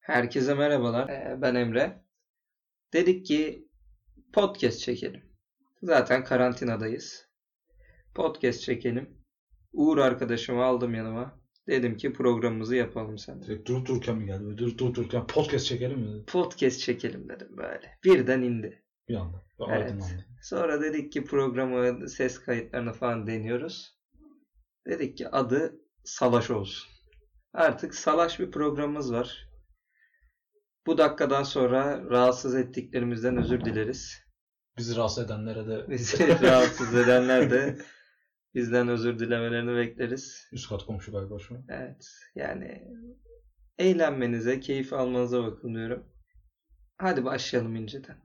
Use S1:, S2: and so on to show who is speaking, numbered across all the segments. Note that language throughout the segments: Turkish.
S1: Herkese merhabalar. Ee, Ben Emre. Dedik ki podcast çekelim. Zaten karantinadayız. Podcast çekelim. Uğur arkadaşımı aldım yanıma. Dedim ki programımızı yapalım seninle.
S2: Direkt durup dururken mi geldi? Böyle durup durup dururken podcast çekelim mi?
S1: Podcast çekelim dedim böyle. Birden indi.
S2: Bir anda. Ve
S1: Evet.
S2: aydınlandı.
S1: Sonra dedik ki programı, ses kayıtlarını falan deniyoruz. Dedik ki adı Salaş olsun. Artık Salaş bir programımız var. Bu dakikadan sonra rahatsız ettiklerimizden özür dileriz.
S2: Bizi rahatsız edenlere de
S1: Bizi rahatsız edenler de bizden özür dilemelerini bekleriz.
S2: üst kat komşu galiba şu an.
S1: Evet yani eğlenmenize, keyif almanıza bakın diyorum. Hadi başlayalım inceden.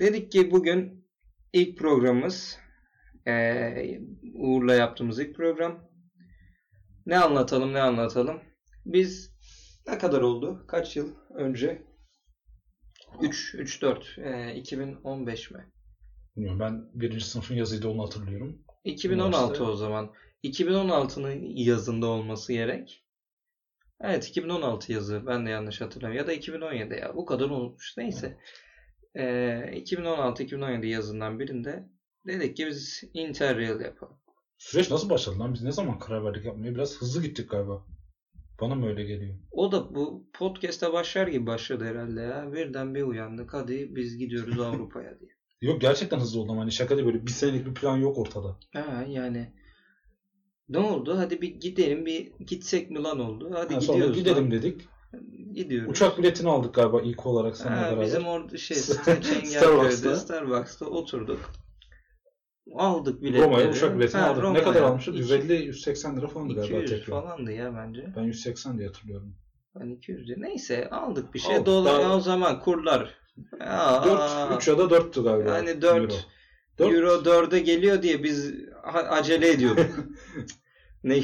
S1: Dedik ki bugün ilk programımız eee, Uğur'la yaptığımız ilk program. Ne anlatalım ne anlatalım. Biz ne kadar oldu? Kaç yıl önce? 3, 3, 4. 2015 mi?
S2: Bilmiyorum ben birinci sınıfın yazıydı onu hatırlıyorum.
S1: 2016
S2: Üniversite.
S1: o zaman. 2016'nın yazında olması gerek. Evet 2016 yazı ben de yanlış hatırlamıyorum. Ya da 2017 ya bu kadar olmuş. Neyse. Ee, 2016-2017 yazından birinde dedik ki biz Interrail yapalım.
S2: Süreç nasıl başladı lan? Biz ne zaman karar verdik yapmaya? Biraz hızlı gittik galiba. Bana mı öyle geliyor?
S1: O da bu podcast'e başlar gibi başladı herhalde ya. Birden bir uyandık hadi biz gidiyoruz Avrupa'ya diye.
S2: Yok gerçekten hızlı oldum. Hani şaka değil böyle bir senelik bir plan yok ortada.
S1: Ha yani ne oldu? Hadi bir gidelim bir gitsek mi lan oldu. Hadi
S2: Ha, sonra
S1: gidiyoruz.
S2: gidelim
S1: lan.
S2: dedik.
S1: Gidiyoruz.
S2: Uçak biletini aldık galiba ilk olarak seninle
S1: Ha,
S2: beraber.
S1: bizim orada şey
S2: Starbucks'ta.
S1: Çengelköy'de Starbucks'ta oturduk. Aldık biletleri.
S2: Roma'ya uçak biletini
S1: Ha,
S2: aldık.
S1: Roma'ya.
S2: ne kadar almıştı?
S1: İki-
S2: 150-180 lira falandı galiba
S1: 200
S2: tekrar.
S1: falandı ya bence.
S2: Ben 180 diye hatırlıyorum.
S1: Ben 200 diye. Neyse aldık bir şey.
S2: Aldık,
S1: Dolar
S2: daha-
S1: o zaman kurlar. Aa,
S2: 4, 3 ya da 4'tü galiba.
S1: Yani dört.
S2: Euro.
S1: Euro,
S2: Dört.
S1: 4'e geliyor diye biz ha- acele ediyorduk. ne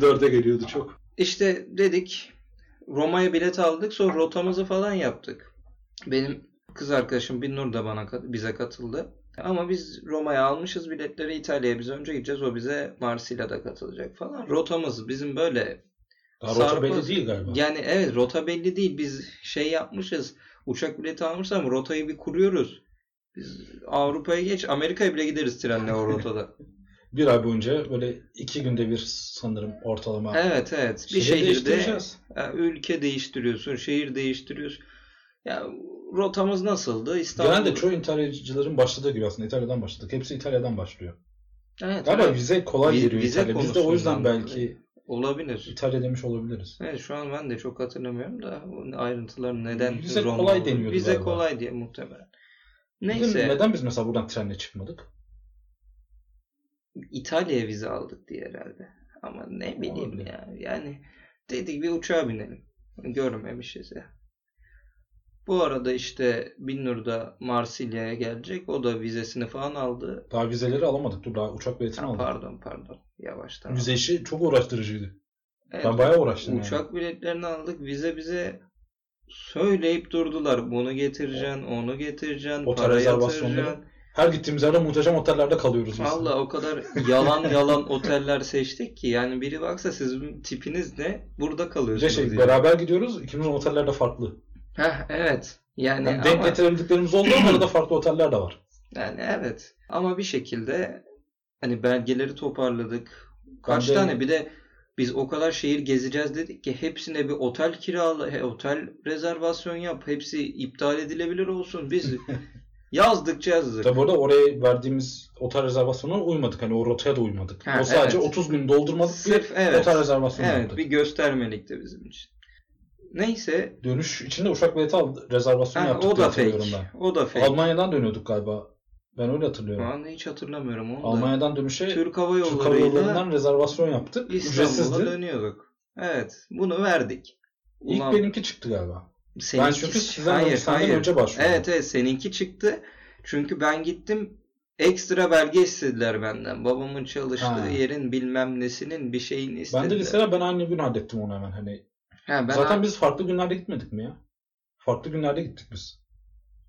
S2: Dörde geliyordu çok.
S1: İşte dedik Roma'ya bilet aldık sonra rotamızı falan yaptık. Benim kız arkadaşım Binnur da bana kat- bize katıldı. Ama biz Roma'ya almışız biletleri İtalya'ya biz önce gideceğiz o bize Marsilya'da katılacak falan. Rotamız bizim böyle
S2: Daha rota
S1: Sarpa-
S2: belli değil galiba.
S1: yani evet rota belli değil biz şey yapmışız uçak bileti almışız ama rotayı bir kuruyoruz. Biz Avrupa'ya geç Amerika'ya bile gideriz trenle o rotada.
S2: Bir ay boyunca böyle iki günde bir sanırım ortalama.
S1: evet evet bir şey
S2: Şehir
S1: şehirde
S2: değiştireceğiz.
S1: Ya ülke değiştiriyorsun, şehir değiştiriyorsun. Ya rotamız nasıldı? İstanbul.
S2: Genelde çoğu İtalyacıların başladığı gibi aslında İtalya'dan başladık. Hepsi İtalya'dan başlıyor.
S1: Evet,
S2: Galiba
S1: evet.
S2: vize kolay
S1: Vi-
S2: geliyor
S1: vize
S2: İtalya. Biz de o yüzden
S1: konusundan
S2: belki
S1: olabilir.
S2: İtalya demiş olabiliriz.
S1: Evet, şu an ben de çok hatırlamıyorum da bu ayrıntılar neden
S2: Bize
S1: Roma
S2: kolay
S1: olur?
S2: deniyordu
S1: Bize
S2: galiba.
S1: kolay diye muhtemelen.
S2: Bizim-
S1: Neyse
S2: neden biz mesela buradan trenle çıkmadık?
S1: İtalya'ya vize aldık diye herhalde. Ama ne bileyim
S2: Olabilir.
S1: ya. Yani dedik bir uçağa binelim. Görmemişiz ya. Bu arada işte Binnur da Marsilya'ya gelecek. O da vizesini falan aldı.
S2: Daha vizeleri alamadık. Dur daha uçak biletini
S1: Ha,
S2: aldık.
S1: pardon pardon. Yavaştan.
S2: Vize işi çok uğraştırıcıydı.
S1: Evet,
S2: Ben bayağı uğraştım yani.
S1: E, uçak biletlerini aldık. Vize bize söyleyip durdular. Bunu getireceksin, onu getireceksin,
S2: Otel
S1: para
S2: rezervasyonları.
S1: yatıracaksın.
S2: Her gittiğimiz yerde muhteşem otellerde kalıyoruz biz.
S1: Valla o kadar yalan yalan oteller seçtik ki. Yani biri baksa sizin tipiniz ne? Burada
S2: Bir de
S1: kalıyorsunuz.
S2: şey,
S1: diye.
S2: beraber gidiyoruz. İkimizin oteller de farklı.
S1: Heh, evet. Yani,
S2: Yani denk
S1: ama-
S2: getirebildiklerimiz oldu ama arada farklı oteller de var.
S1: yani evet. Ama bir şekilde hani belgeleri toparladık. Kaç
S2: Ben de-
S1: tane bir de biz o kadar şehir gezeceğiz dedik ki hepsine bir otel kirala, he- otel rezervasyon yap. Hepsi iptal edilebilir olsun. Biz yazdıkça yazdık.
S2: Tabi orada oraya verdiğimiz otel rezervasyonuna uymadık. Hani o rotaya da uymadık.
S1: Ha,
S2: o sadece
S1: evet.
S2: 30 gün doldurmadık
S1: Sırf
S2: bir
S1: evet.
S2: otel rezervasyonu
S1: Evet
S2: yaptık.
S1: bir göstermelikti bizim için. Neyse
S2: Dönüş içinde uçak bileti aldı, rezervasyonu
S1: ha,
S2: yaptık
S1: o
S2: diye
S1: da
S2: hatırlıyorum
S1: fake. O da
S2: ben.
S1: fake.
S2: Almanya'dan dönüyorduk galiba. Ben öyle hatırlıyorum.
S1: Şu anda hiç hatırlamıyorum onu da.
S2: Almanya'dan dönüşe Türk,
S1: Türk Hava
S2: Hava
S1: Yolları'yla
S2: Yolları'ndan rezervasyon yaptık.
S1: İstanbul'a
S2: Ücretsizdi.
S1: dönüyorduk. Evet bunu verdik.
S2: İlk
S1: Ulan-
S2: benimki çıktı galiba. ben
S1: Seninki-
S2: çünkü sizden hayır, önce başvurdum.
S1: Evet evet seninki çıktı. Çünkü ben gittim ekstra belge istediler benden. Babamın çalıştığı
S2: Ha.
S1: yerin bilmem nesinin bir şeyini istediler.
S2: ben de lisede ben aynı gün hallettim onu hemen. Hani
S1: Ha, ben
S2: Zaten biz farklı günlerde gitmedik mi ya? Farklı günlerde gittik biz.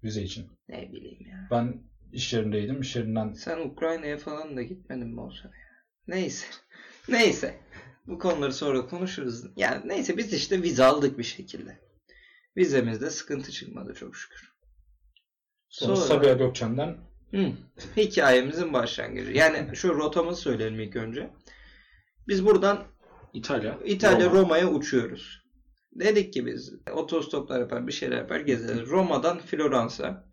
S2: Vize için.
S1: ne bileyim ya.
S2: Ben iş yerindeydim. İş yerinden
S1: Sen Ukrayna'ya falan da gitmedin mi o sene? ya? Neyse. Neyse. Bu konuları sonra konuşuruz. Yani neyse biz işte vize aldık bir şekilde. Vizemizde sıkıntı çıkmadı çok şükür.
S2: Sonra,
S1: Sonra-
S2: Sabiha Gökçen'den
S1: Hı. Hikayemizin başlangıcı. Yani şu rotamızı söyleyelim ilk önce. Biz buradan
S2: İtalya.
S1: İtalya
S2: Roma.
S1: Roma'ya uçuyoruz. Dedik ki biz otostoplar yapar bir şeyler yapar gezeriz. Roma'dan Floransa.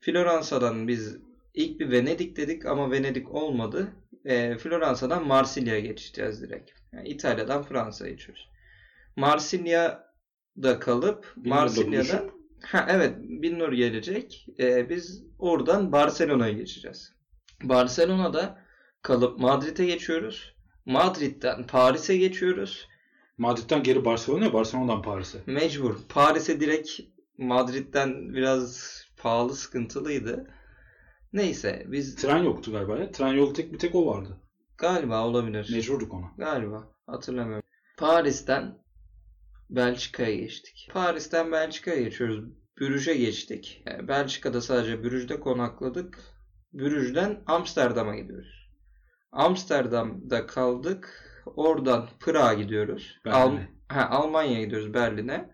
S1: Floransa'dan biz ilk bir Venedik dedik ama Venedik olmadı. Ee, Floransa'dan Marsilya'ya geçeceğiz direkt. Yani İtalya'dan Fransa'ya geçiyoruz. Marsilya'da kalıp
S2: Bilmiyorum,
S1: Marsilya'da
S2: buluşup.
S1: ha, evet Binnur gelecek. Ee, biz oradan Barcelona'ya geçeceğiz. Barcelona'da kalıp Madrid'e geçiyoruz. Madrid'den Paris'e geçiyoruz.
S2: Madrid'den geri Barcelona'ya, Barcelona'dan Paris'e.
S1: Mecbur. Paris'e direkt Madrid'den biraz pahalı sıkıntılıydı. Neyse biz
S2: Tren yoktu galiba ya. Tren yolu tek bir tek o vardı.
S1: galiba olabilir.
S2: Mecburduk ona.
S1: Galiba. Hatırlamıyorum. Paris'ten Belçika'ya geçtik. Paris'ten Belçika'ya geçiyoruz. Brüj'e geçtik. Yani Belçika'da sadece Brüj'de konakladık. Brüj'den Amsterdam'a gidiyoruz. Amsterdam'da kaldık. Oradan Pırağa gidiyoruz.
S2: Berlin'e.
S1: Al- ha, Almanya'ya gidiyoruz Berlin'e.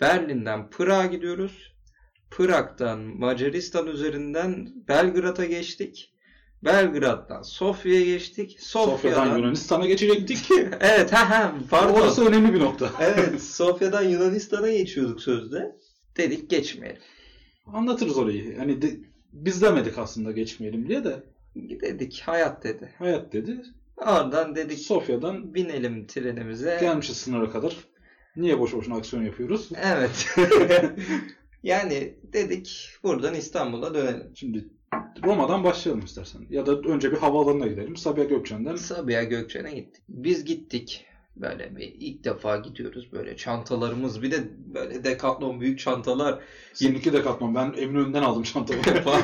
S1: Berlin'den Pırağa gidiyoruz. Pırak'tan Macaristan üzerinden Belgrad'a geçtik. Belgrad'dan Sofya'ya geçtik.
S2: Sofya'dan
S1: Sofya'dan
S2: Yunanistan'a geçecektik.
S1: evet ha ha pardon.
S2: Orası önemli bir nokta.
S1: Evet Sofya'dan Yunanistan'a geçiyorduk sözde. Dedik geçmeyelim.
S2: Anlatırız orayı. Hani de- biz demedik aslında geçmeyelim diye de.
S1: Dedik hayat dedi.
S2: Hayat dedi.
S1: Oradan dedik
S2: Sofya'dan
S1: binelim trenimize.
S2: gelmişiz sınıra kadar. Niye boş boşuna aksiyon yapıyoruz?
S1: Evet. yani dedik buradan İstanbul'a dönelim.
S2: Şimdi Roma'dan başlayalım istersen. Ya da önce bir havaalanına gidelim. Sabiha Gökçen'den
S1: Sabiha Gökçen'e gittik. Biz gittik. Böyle bir ilk defa gidiyoruz böyle çantalarımız bir de böyle dekatlon büyük çantalar
S2: seninki de katmam. Ben Eminönü'nden aldım çantamı.
S1: Falan.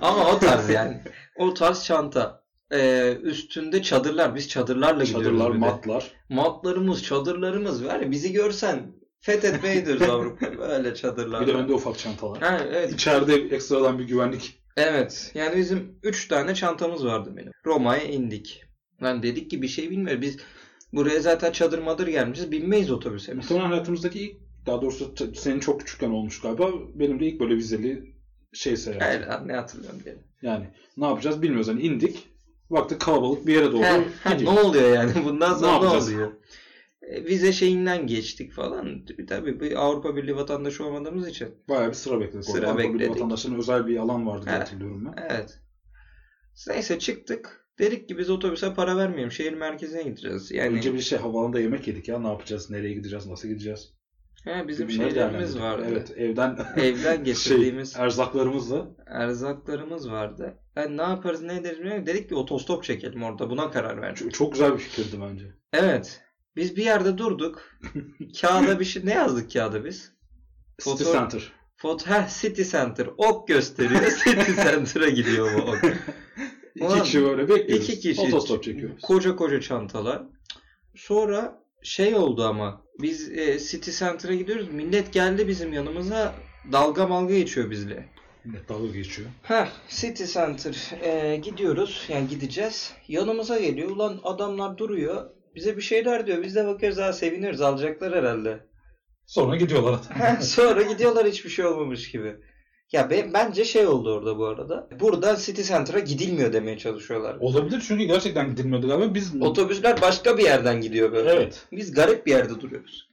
S1: Ama o tarz yani. O tarz çanta. Ee, üstünde çadırlar. Biz çadırlarla gidiyoruz.
S2: Çadırlar,
S1: bir de.
S2: matlar.
S1: Matlarımız, çadırlarımız var ya bizi görsen fethetmeye gidiyoruz Avrupa'yı. Böyle çadırlarla.
S2: Bir de önde ufak çantalar.
S1: Ha, evet.
S2: İçeride ekstradan bir güvenlik.
S1: evet. Yani bizim 3 tane çantamız vardı benim. Roma'ya indik. Lan dedik ki bir şey bilmiyoruz. Biz buraya zaten çadır madır gelmişiz. Binmeyiz otobüse. biz.
S2: E, Muhtemelen hayatımızdaki ilk, daha doğrusu t- senin çok küçükken olmuş galiba. Benim de ilk böyle vizeli şey seyahat.
S1: Hayır, ne hatırlıyorum diye.
S2: Yani ne yapacağız bilmiyoruz. Hani indik. Baktık kalabalık bir yere doğru
S1: Ha, ha, ne
S2: gidiyor.
S1: oluyor yani? Bundan sonra ne,
S2: yapacağız?
S1: oluyor? E, Vize şeyinden geçtik falan. Tabii, Tabii bir Avrupa Birliği vatandaşı olmadığımız için.
S2: Bayağı bir sıra bekledik.
S1: Sıra
S2: Sıra Avrupa Birliği
S1: bekledik.
S2: vatandaşlarına özel bir alan vardı diye
S1: Evet.
S2: hatırlıyorum ben.
S1: Evet. Neyse çıktık. Dedik ki biz otobüse para vermeyelim. Şehir merkezine gideceğiz. Yani
S2: Önce bir şey havaalanında yemek yedik ya. Ne yapacağız? Nereye gideceğiz? Nasıl gideceğiz?
S1: he, bizim
S2: Bunları
S1: şeylerimiz
S2: değerlendirdik.
S1: vardı.
S2: Evet evden
S1: Evden getirdiğimiz
S2: şey, erzaklarımızla
S1: erzaklarımız vardı. Yani ne yaparız ne ederiz bilmiyorum. Dedik ki otostop çekelim orada. Buna karar verdik.
S2: Ç- çok güzel bir fikirdi bence.
S1: Evet. Biz bir yerde durduk. kağıda bir şey ne yazdık kağıda biz?
S2: City
S1: Foto-
S2: Center.
S1: Foto ha, City Center ok gösteriyor. City Center'a gidiyor bu ok. Ulan,
S2: İki kişi böyle bekliyoruz.
S1: İki kişi
S2: Otostop çekiyoruz.
S1: Koca koca çantalar. Sonra şey oldu ama biz e, City Center'a gidiyoruz. Millet geldi bizim yanımıza dalga malga geçiyor bizle.
S2: Millet dalga geçiyor.
S1: Ha City Center e, gidiyoruz yani gideceğiz. Yanımıza geliyor. Ulan adamlar duruyor. Bize bir şeyler diyor. Biz de bakıyoruz ha seviniyoruz alacaklar herhalde.
S2: Sonra gidiyorlar hatta.
S1: Ha, Sonra gidiyorlar hiçbir şey olmamış gibi. Ya be- bence şey oldu orada bu arada. Buradan City Center'a gidilmiyor demeye çalışıyorlar.
S2: Olabilir çünkü gerçekten gidilmiyordu galiba. Biz
S1: Otobüsler başka bir yerden gidiyor böyle.
S2: Evet.
S1: Biz garip bir yerde duruyoruz.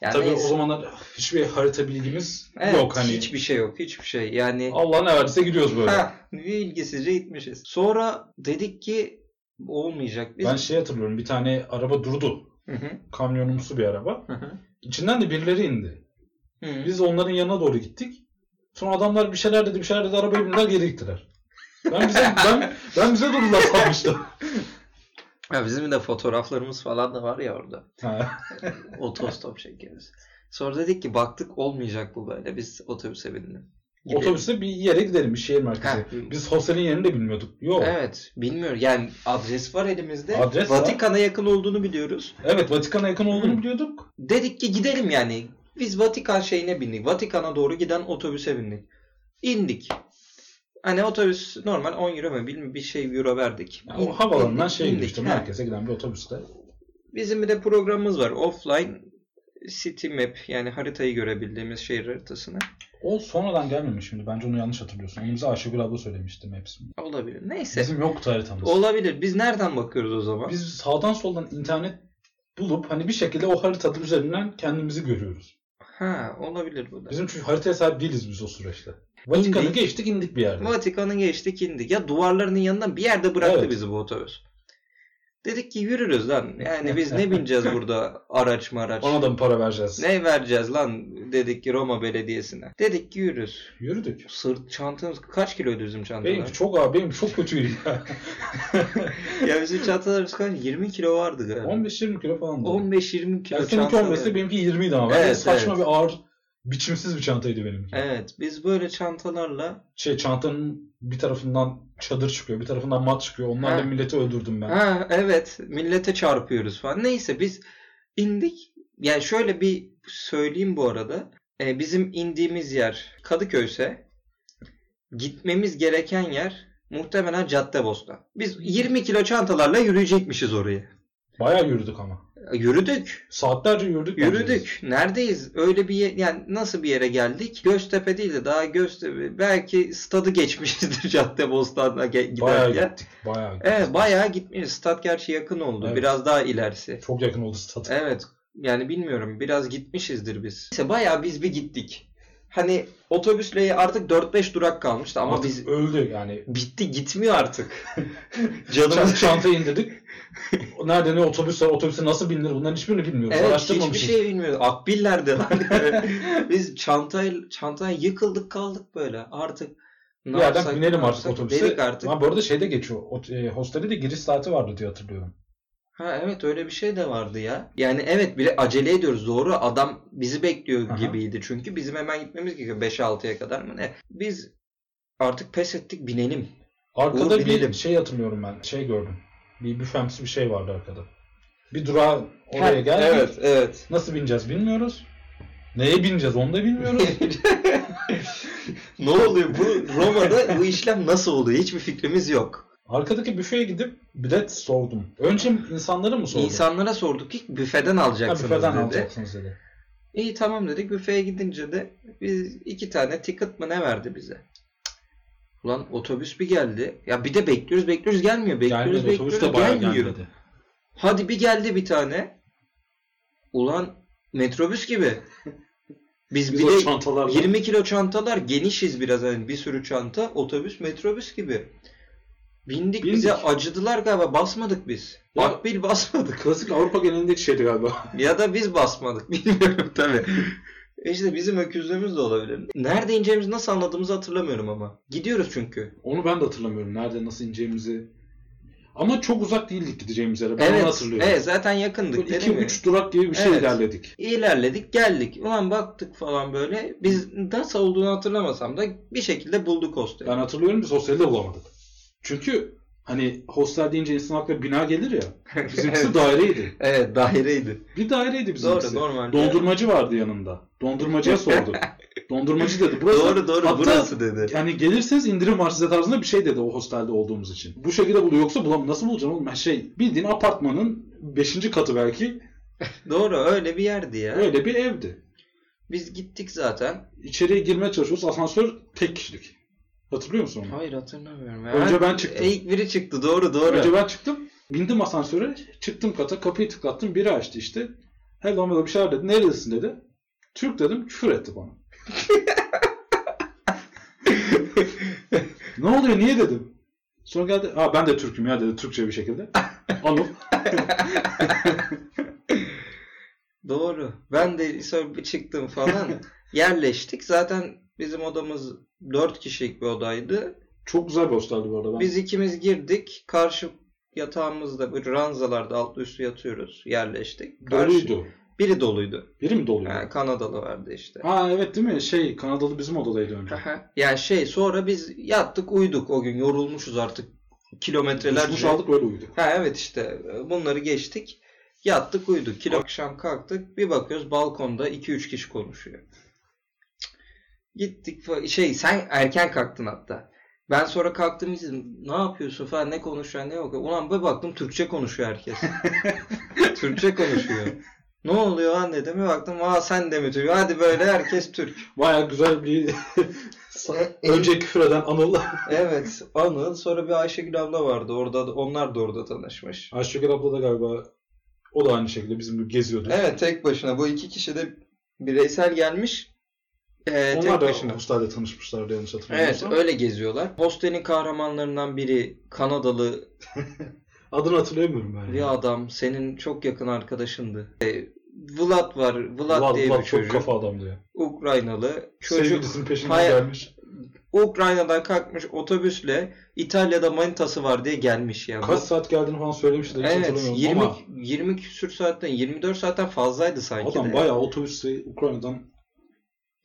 S1: Yani
S2: Tabii
S1: neyse.
S2: o zamanlar hiçbir harita bilgimiz
S1: Evet,
S2: yok hani.
S1: Hiçbir şey yok. Hiçbir şey. Yani
S2: Allah ne verdiyse gidiyoruz böyle.
S1: ha, bilgisizce gitmişiz. Sonra dedik ki olmayacak. Biz...
S2: Ben şey hatırlıyorum. Bir tane araba durdu.
S1: Hı hı,
S2: Kamyonumsu bir araba.
S1: hı hı.
S2: İçinden de birileri indi.
S1: Hı.
S2: Biz onların yanına doğru gittik. Sonra adamlar bir şeyler dedi, bir şeyler dedi. Arabaya bindiler geri gittiler. Ben bize, ben, ben bize durdular sanmıştım.
S1: Ya bizim de fotoğraflarımız falan da var ya orada.
S2: Ha.
S1: otostop çekiyoruz. Sonra dedik ki baktık olmayacak bu böyle. Biz otobüse binelim. Gidelim.
S2: Otobüse bir yere gidelim. Bir şehir merkezi.
S1: Ha.
S2: Biz hostelin yerini de bilmiyorduk. Yok. Evet,
S1: Evet. Bilmiyorum. Yani adres var elimizde.
S2: Adres var.
S1: Vatikan'a yakın olduğunu biliyoruz.
S2: Vatikan'a yakın olduğunu biliyorduk.
S1: Dedik ki gidelim yani. Biz Vatikan şeyine bindik. Vatikan'a doğru giden otobüse bindik. İndik. Hani otobüs normal 10 euro mu bilmiyorum bir şey euro verdik.
S2: Ya
S1: İn-
S2: o havalandan
S1: indik,
S2: şey
S1: indik.
S2: işte
S1: Ha.
S2: merkeze giden bir otobüste.
S1: Bizim bir de programımız var. Offline city map yani haritayı görebildiğimiz şehir haritasını.
S2: O sonradan gelmemiş şimdi. Bence onu yanlış hatırlıyorsun. Onu bize Ayşegül abla söylemişti Maps'in.
S1: Olabilir. Neyse.
S2: Bizim yoktu haritamız.
S1: Olabilir. Biz nereden bakıyoruz o zaman?
S2: Biz sağdan soldan internet bulup hani bir şekilde o haritanın üzerinden kendimizi görüyoruz.
S1: Ha olabilir bu da.
S2: Bizim çünkü haritaya sahip değiliz biz o süreçte. Vatikan'ı
S1: İndik.
S2: geçtik indik bir yerde.
S1: Vatikan'ın geçtik indi. Ya duvarlarının yanından bir yerde bıraktı
S2: Evet.
S1: bizi bu otobüs. Dedik ki yürürüz lan. Yani biz ne bineceğiz burada araç maraç.
S2: Ona da mı para vereceğiz?
S1: Ne vereceğiz lan dedik ki Roma Belediyesi'ne. Dedik ki yürürüz.
S2: Yürüdük.
S1: Sırt çantamız kaç kiloydu bizim çantalar?
S2: Benim çok abi benim çok kötüydü. ya.
S1: ya bizim çantalarımız kaç? 20 kilo vardı galiba.
S2: 15-20 kilo falan.
S1: 15-20 kilo
S2: yani seninki
S1: çanta.
S2: 15 'ti, benimki 20 idi ama. Ben de
S1: Evet,
S2: saçma
S1: evet.
S2: bir ağır biçimsiz bir çantaydı benimki.
S1: Evet biz böyle çantalarla
S2: Şey çantanın bir tarafından çadır çıkıyor, bir tarafından mat çıkıyor. Onlarla
S1: Ha.
S2: milleti öldürdüm ben.
S1: ha evet millete çarpıyoruz falan. Neyse biz indik. Yani şöyle bir söyleyeyim bu arada. Ee, bizim indiğimiz yer Kadıköy'se gitmemiz gereken yer muhtemelen Caddebostan. Biz 20 kilo çantalarla yürüyecekmişiz oraya. E,
S2: Bayağı yürüdük ama.
S1: Yürüdük.
S2: Saatlerce yürüdük. neredeyse.
S1: Yürüdük. Neredeyiz? Öyle bir ye- yani nasıl bir yere geldik? Göztepe değil de daha Göztepe belki stadı geçmişizdir Caddebostan'a ge-
S2: Bayağı
S1: giderken.
S2: gittik. Bayağı gittik.
S1: Evet bayağı gitmişiz. Stad gerçi yakın oldu.
S2: Evet.
S1: Biraz daha ilerisi.
S2: Çok yakın oldu stat.
S1: Evet. Yani bilmiyorum. Biraz gitmişizdir biz. Neyse bayağı biz bir gittik. Hani otobüsle artık 4-5 durak kalmıştı ama
S2: Artık
S1: biz
S2: öldük yani.
S1: bitti gitmiyor artık.
S2: Çant-
S1: Canımız
S2: çantayı indirdik. Nerede ne otobüs var, otobüse nasıl binilir bunların hiçbirini bilmiyoruz.
S1: Evet hiçbir
S2: Araştırmamışız.
S1: şey bilmiyoruz. Akbillerdi lan. Biz çantayla, çantaya yıkıldık kaldık böyle. Artık ne
S2: Bir yerden
S1: yapsak,
S2: binelim
S1: ne
S2: artık
S1: yapsak
S2: otobüse.
S1: Dedik artık.
S2: Ama bu arada şeyde geçiyor. O, e, hostelde de giriş saati vardı diye hatırlıyorum.
S1: Ha evet öyle bir şey de vardı ya. Yani evet bile acele ediyoruz doğru. Adam bizi bekliyor
S2: Aha.
S1: gibiydi çünkü. Bizim hemen gitmemiz gerekiyor 5-6'ya kadar mı ne? Biz artık pes ettik binelim.
S2: Arkada
S1: Oğlum
S2: bir
S1: binelim.
S2: şey hatırlıyorum ben. Şey gördüm. Bir büfemsi bir şey vardı arkada. Bir durağa
S1: Ha,
S2: oraya geldik.
S1: Evet evet.
S2: Nasıl bineceğiz bilmiyoruz. Neye bineceğiz onu da bilmiyoruz.
S1: ne oluyor bu Roma'da bu işlem nasıl oluyor? Hiçbir fikrimiz yok.
S2: Arkadaki büfeye gidip bilet sordum. Önce insanlara mı sordum?
S1: İnsanlara sorduk ki büfeden
S2: Ha,
S1: alacaksınız
S2: büfeden
S1: dedi.
S2: alacaksınız dedi.
S1: İyi tamam dedik. Büfeye gidince de biz iki tane ticket mı ne verdi bize? Ulan otobüs bir geldi. Ya bir de bekliyoruz bekliyoruz gelmiyor. Bekliyoruz
S2: Gelmedi
S1: bekliyoruz
S2: otobüs de bayağı
S1: gelmiyor.
S2: gelmedi.
S1: Hadi bir geldi bir tane. Ulan metrobüs gibi. Biz,
S2: Biz
S1: bir
S2: o
S1: de
S2: çantalarla
S1: 20 kilo çantalar genişiz biraz hani bir sürü çanta otobüs metrobüs gibi. Bindik,
S2: Bindik.
S1: bize acıdılar galiba basmadık biz.
S2: Ya-
S1: Akbil basmadık.
S2: Klasik Avrupa genelindeki şeydi galiba.
S1: Ya da biz basmadık bilmiyorum tabi. İşte bizim öküzlüğümüz de olabilir. Nerede ineceğimizi nasıl anladığımızı hatırlamıyorum ama. Gidiyoruz çünkü.
S2: Onu ben de hatırlamıyorum. Nerede nasıl ineceğimizi. Ama çok uzak değildik gideceğimiz yere. Ben onu
S1: evet,
S2: hatırlıyorum.
S1: evet zaten yakındık.
S2: Böyle iki
S1: dedim ya.
S2: üç durak gibi bir şey
S1: Evet.
S2: ilerledik.
S1: İlerledik geldik. Ulan baktık falan böyle. Biz nasıl olduğunu hatırlamasam da bir şekilde bulduk hosteli.
S2: Ben hatırlıyorum biz hostelde bulamadık. Çünkü hani hostel deyince insan aklına bina gelir ya. Bizimkisi
S1: evet.
S2: daireydi.
S1: evet daireydi.
S2: Bir daireydi bizimkisi.
S1: Doğru normal.
S2: Dondurmacı vardı yanında. Dondurmacıya sorduk. Dondurmacı dedi. Burası
S1: Doğru doğru
S2: Hatta-
S1: burası dedi.
S2: Yani gelirseniz indirim var size tarzında bir şey dedi o hostelde olduğumuz için. Bu şekilde buluyor. Yoksa bulam nasıl bulacaksın oğlum? Ben şey bildiğin apartmanın 5. katı belki
S1: Doğru öyle bir yerdi ya.
S2: öyle bir evdi.
S1: Biz gittik zaten.
S2: İçeriye girmeye çalışıyoruz. Asansör tek kişilik. Hatırlıyor musun onu?
S1: Hayır hatırlamıyorum. ya.
S2: Önce ben çıktım.
S1: E, ilk biri çıktı doğru doğru.
S2: Önce ben çıktım. Bindim asansöre. Çıktım kata. Kapıyı tıklattım. Biri açtı işte. Hello merhaba bir şeyler dedi. Neredesin dedi. Türk dedim. Küfür etti bana. ne oluyor niye dedim. Sonra geldi. Aa ben de Türk'üm ya dedi. Türkçe bir şekilde. Anıl.
S1: Doğru. Ben de sonra bir çıktım falan. Yerleştik. Zaten bizim odamız 4 kişilik bir odaydı.
S2: Çok güzel bir hosteldi bu arada. Ben
S1: Biz ikimiz girdik. Karşı yatağımızda böyle ranzalarda alt üstü yatıyoruz. Yerleştik. Karşı-
S2: doluydu.
S1: Biri doluydu.
S2: Biri mi doluydu?
S1: Yani Kanadalı vardı işte.
S2: Aa evet değil mi? Şey Kanadalı bizim odadaydı önce.
S1: Aha. yani şey sonra biz yattık uyuduk o gün yorulmuşuz artık kilometrelerce.
S2: Duş aldık öyle uyuduk.
S1: Ha evet işte e, bunları geçtik. Yattık uyuduk. Kilo akşam kalktık. Bir bakıyoruz balkonda 2-3 kişi konuşuyor. Cık. Gittik fa- şey sen erken kalktın hatta. Ben sonra kalktım izledim. Ne yapıyorsun falan ne konuşuyor ne yok. Ulan bir baktım Türkçe konuşuyor herkes. Türkçe konuşuyor. Ne oluyor lan dedim. Bir baktım aa sen de mi Türk? Hadi böyle herkes Türk.
S2: Baya güzel bir önce küfür eden Anıl.
S1: Evet. Anıl sonra bir Ayşegül abla vardı. Orada da- onlar da orada tanışmış.
S2: Ayşegül abla da galiba o da aynı şekilde bizim gibi geziyordu.
S1: Evet tek başına. Bu iki kişi de bireysel gelmiş. Ee,
S2: Onlar
S1: tek
S2: da
S1: başına.
S2: Avustralya'da tanışmışlardı yanlış
S1: Evet
S2: hatırlamıyorsam.
S1: öyle geziyorlar. Hostel'in kahramanlarından biri Kanadalı
S2: Adını hatırlayamıyorum ben. ya.
S1: bir adam. Senin çok yakın arkadaşındı. Ee, Vlad var. Vlad,
S2: Vlad,
S1: diye
S2: Vlad
S1: bir
S2: çok
S1: çocuk.
S2: kafa adamdı ya.
S1: Ukraynalı. Çocuk
S2: Sevgilisinin peşinden
S1: Hayır.
S2: gelmiş.
S1: Ukrayna'dan kalkmış otobüsle İtalya'da manitası var diye gelmiş ya.
S2: Kaç saat geldiğini falan söylemişti de hiç
S1: Evet
S2: hatırlamıyorum
S1: 20
S2: ama
S1: 20 küsür saatten 24 saatten fazlaydı sanki
S2: adam
S1: de.
S2: bayağı otobüsle Ukrayna'dan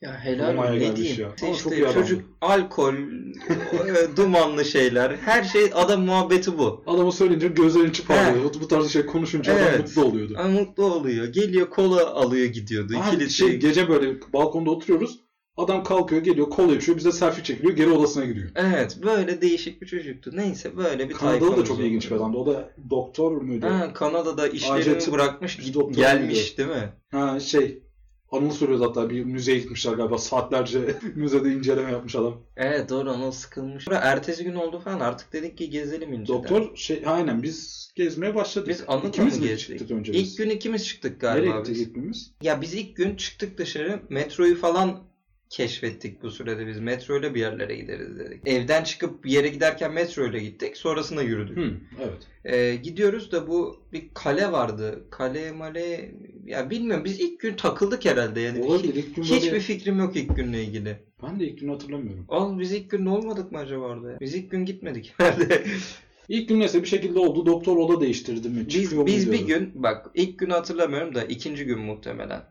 S1: ya helal
S2: Roma'ya
S1: olsun, ne
S2: gelmiş
S1: diyeyim.
S2: ya.
S1: İşte
S2: Ama çok iyi adam.
S1: çocuk alkol, e, dumanlı şeyler, her şey adam muhabbeti bu.
S2: adama söyleyince gözlerin içi parlıyor. Bu tarz şey konuşunca adam
S1: Evet.
S2: mutlu oluyordu.
S1: Ama mutlu oluyor. Geliyor kola alıyor gidiyordu.
S2: Abi
S1: İkili
S2: şey,
S1: şey.
S2: gece böyle balkonda oturuyoruz. Adam kalkıyor geliyor kola içiyor bize selfie çekiliyor geri odasına gidiyor.
S1: Evet böyle değişik bir çocuktu. Neyse böyle bir
S2: Kanadalı da
S1: tayfamız
S2: çok ilginç bir
S1: oldu.
S2: adamdı. O da doktor muydu? Ha,
S1: Ha, Kanada'da işlerini
S2: Acil tıp-
S1: bırakmış
S2: doktor
S1: gelmiş değil mi?
S2: şey Anıl soruyordu hatta bir müzeye gitmişler galiba saatlerce müzede inceleme yapmış adam.
S1: Evet doğru ona sıkılmış. Sonra ertesi gün oldu falan artık dedik ki gezelim inceden.
S2: Doktor şey aynen biz gezmeye başladık.
S1: Biz Anıl'la
S2: İkimiz
S1: mı
S2: mi
S1: gezdik?
S2: çıktık önce biz?
S1: İlk gün ikimiz çıktık
S2: Nereye
S1: galiba
S2: gittik
S1: biz.
S2: hepimiz?
S1: Ya biz ilk gün çıktık dışarı metroyu falan keşfettik bu sürede biz. Metroyla bir yerlere gideriz dedik. Evden çıkıp bir yere giderken metroyla gittik. Sonrasında yürüdük.
S2: Hı, evet.
S1: Ee, gidiyoruz da bu bir kale vardı. Kale male ya bilmiyorum biz ilk gün takıldık herhalde yani.
S2: Olabilir
S1: Hani Hiç-
S2: ilk gün
S1: hiçbir
S2: böyle-
S1: fikrim yok ilk günle ilgili.
S2: Ben de ilk günü hatırlamıyorum.
S1: Oğlum biz ilk gün olmadık mı acaba orada? ya? Biz ilk gün gitmedik herhalde.
S2: İlk gün neyse bir şekilde oldu. Doktor oda değiştirdi mi?
S1: Biz,
S2: Çıkıyor mu
S1: biz bir
S2: diyordu.
S1: gün bak ilk günü hatırlamıyorum da ikinci gün muhtemelen.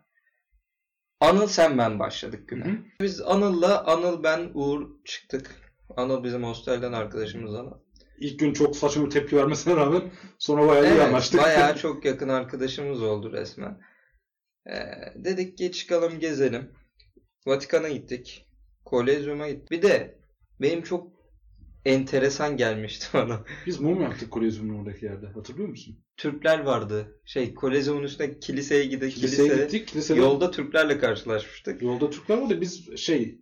S1: Anıl sen ben başladık güne.
S2: Hı hı.
S1: Biz Anıl'la Anıl ben Uğur çıktık. Anıl bizim hostelden arkadaşımız Anıl.
S2: İlk gün çok saçma bir tepki vermesine rağmen sonra bayağı iyi
S1: Evet,
S2: anlaştık.
S1: bayağı çok yakın arkadaşımız oldu resmen. Ee, dedik ki çıkalım gezelim. Vatikan'a gittik. Kolezyum'a gittik. Bir de benim çok enteresan gelmişti bana.
S2: Biz mum yaptık Kolezyum'un oradaki yerde. Hatırlıyor musun?
S1: Türkler vardı. Şey Kolezyum'un üstündeki kiliseye gidip
S2: Kiliseye
S1: kilise,
S2: gittik. Kilisede
S1: yolda Türklerle karşılaşmıştık.
S2: Yolda Türkler vardı. Biz şey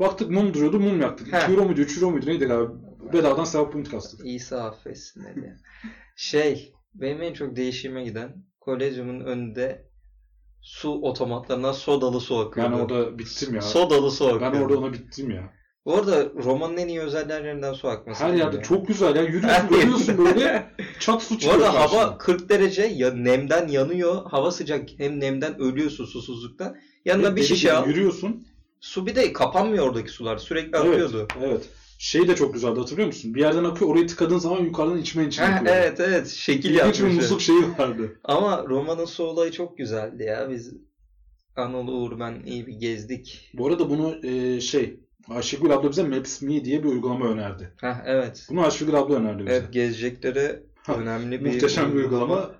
S2: baktık mum duruyordu mum yaktık.
S1: He.
S2: 2 euro muydu 3 euro muydu neydi galiba? Bedavadan sevap point kastık.
S1: İsa affetsin dedi. şey, benim en çok değişime giden kolezyumun önünde su otomatlarından sodalı su
S2: Ben
S1: akıyordu.
S2: orada bittim ya.
S1: Sodalı su
S2: ben
S1: akıyordu.
S2: orada ona bittim ya.
S1: Bu arada Roma'nın en iyi özelliklerinden su akması.
S2: Her
S1: değil
S2: yerde
S1: mi?
S2: çok güzel ya.
S1: Her
S2: Yürüyorsun,
S1: yerde.
S2: yürüyorsun böyle. Çat su
S1: Bu
S2: çıkıyor.
S1: arada
S2: karşına.
S1: hava 40 derece ya nemden yanıyor. Hava sıcak hem nemden ölüyorsun susuzluktan. Yanına bir
S2: Deli
S1: şişe
S2: gibi
S1: al.
S2: Yürüyorsun.
S1: Su bir de kapanmıyor oradaki sular. Sürekli
S2: Evet.
S1: akıyordu.
S2: Evet. Şey de çok güzeldi hatırlıyor musun? Bir yerden akıyor orayı tıkadığın zaman yukarıdan içmen için
S1: Ha,
S2: akıyor.
S1: evet evet şekil
S2: İlginç bir
S1: yapmışlar.
S2: musluk şeyi vardı.
S1: Ama Roma'nın su olayı çok güzeldi ya. Biz Anıl Uğur ben iyi bir gezdik.
S2: Bu arada bunu e, şey Ayşegül abla bize Maps Me diye bir uygulama önerdi.
S1: Hah evet.
S2: Bunu Ayşegül abla önerdi bize.
S1: Evet gezeceklere
S2: Ha,
S1: önemli bir
S2: Muhteşem bir uygulama.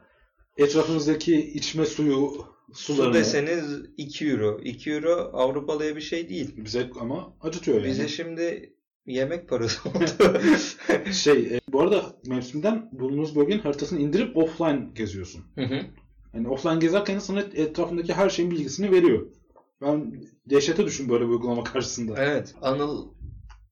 S2: Etrafımızdaki içme suyu
S1: Su
S2: sularını
S1: deseniz 2 euro. 2 euro Avrupalıya bir şey değil.
S2: bize ama acıtıyor yani.
S1: Bize şimdi yemek parası oldu.
S2: Şey e, bu arada Maps Me'den bulunduğunuz bölgenin haritasını indirip offline geziyorsun.
S1: Hı hı.
S2: Yani offline gezerken sana etrafındaki her şeyin bilgisini veriyor. Ben dehşete düşün böyle bir uygulama karşısında.
S1: evet. Anıl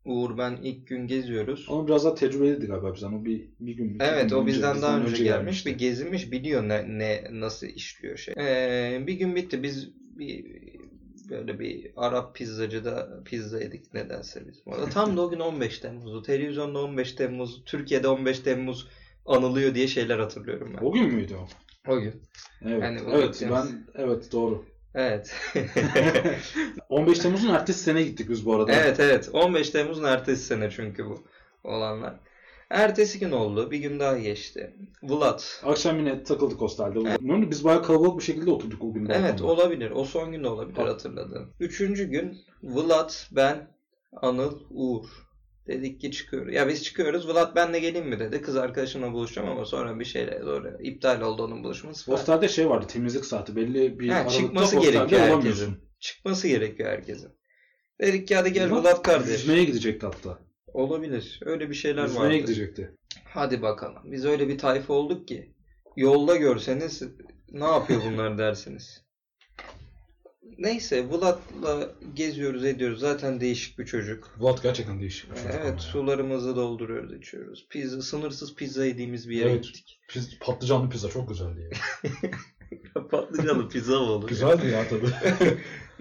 S1: Uğur ben ilk gün geziyoruz.
S2: Ama biraz daha tecrübeliydi galiba bizden. O bir, bir gün. iki
S1: Evet
S2: gün
S1: o bizden daha önce, gelmiş
S2: gelmişti.
S1: ve gezinmiş biliyor ne, ne nasıl işliyor şey. Ee, bir gün bitti biz bir böyle bir Arap pizzacıda pizza yedik nedense biz. Bu arada Tam da o gün 15 Temmuz'u. Televizyonda 15 Temmuz, Türkiye'de 15 Temmuz anılıyor diye şeyler hatırlıyorum ben.
S2: O gün müydü o?
S1: O gün.
S2: Evet.
S1: Yani o
S2: evet
S1: gideceğimiz-
S2: ben evet doğru.
S1: Evet.
S2: 15 Temmuz'un ertesi sene gittik biz bu arada.
S1: evet evet. 15 Temmuz'un ertesi sene çünkü bu olanlar. Ertesi gün oldu. Bir gün daha geçti. Vlad
S2: Akşam yine takıldık hostelde. Evet. Biz bayağı kalabalık bir şekilde oturduk o gün.
S1: Evet
S2: balkonda.
S1: olabilir. O son gün de olabilir
S2: Bak-
S1: hatırladım. Üçüncü gün Vlad, ben, Anıl, Uğur. Dedik ki çıkıyoruz. Ya biz çıkıyoruz. Vlad ben de geleyim mi dedi. Kız arkadaşımla buluşacağım ama sonra bir şeyle doğru iptal oldu onun buluşması. falan.
S2: Hostelde şey vardı temizlik saati belli bir
S1: Ha,
S2: aralıkta
S1: çıkması
S2: hostelde
S1: gerekiyor herkesin.
S2: olamıyorsun.
S1: Çıkması gerekiyor herkesin. Dedik ki hadi gel
S2: Vlad
S1: Vlad kardeş.
S2: Yüzmeye gidecekti hatta.
S1: Olabilir. Öyle bir şeyler
S2: Uzmaya
S1: vardı.
S2: gidecekti.
S1: Hadi bakalım. Biz öyle bir tayfa olduk ki yolda görseniz ne yapıyor bunlar dersiniz. Neyse Vlad'la geziyoruz ediyoruz. Zaten değişik bir çocuk.
S2: Vlad gerçekten değişik bir çocuk. ama
S1: Evet
S2: ya.
S1: sularımızı dolduruyoruz içiyoruz. Pizza, sınırsız pizza yediğimiz bir yere
S2: Evet.
S1: gittik.
S2: Piz, patlıcanlı pizza çok güzeldi. ya.
S1: Patlıcanlı pizza mı olur?
S2: Güzeldi ya tadı.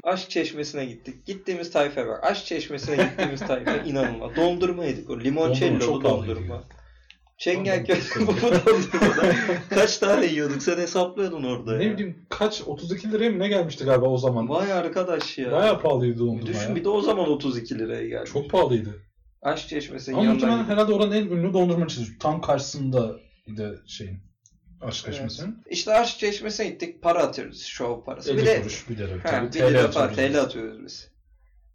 S1: Aşk çeşmesine gittik. Gittiğimiz tayfa bak. Aşk çeşmesine gittiğimiz tayfa inanılmaz. Dondurma yedik o. Limoncello
S2: çok pahalıydı
S1: dondurma.
S2: ya.
S1: Çengelköy bu dondurmada kaç tane yiyorduk? Sen hesaplıyordun orada ya.
S2: ne bileyim kaç 32 liraya mı ne gelmişti galiba o zaman?
S1: Vay arkadaş ya.
S2: Bayağı pahalıydı dondurma
S1: Düşün
S2: ya.
S1: bir de o zaman 32 liraya geldi.
S2: Çok pahalıydı.
S1: Aşk çeşmesinin
S2: Ama
S1: yanından
S2: muhtemelen
S1: gittik.
S2: herhalde oranın en ünlü dondurma çizgisi. Tam karşısında de şeyin. Aşk
S1: Evet.
S2: Eşmesi'nin.
S1: İşte aşk çeşmesine gittik. Para atıyoruz. Şov parası.
S2: 50
S1: Bir de
S2: kuruş bir lira.
S1: Ha,
S2: tabii.
S1: bir
S2: TL
S1: defa
S2: atıyoruz.
S1: TL atıyoruz biz.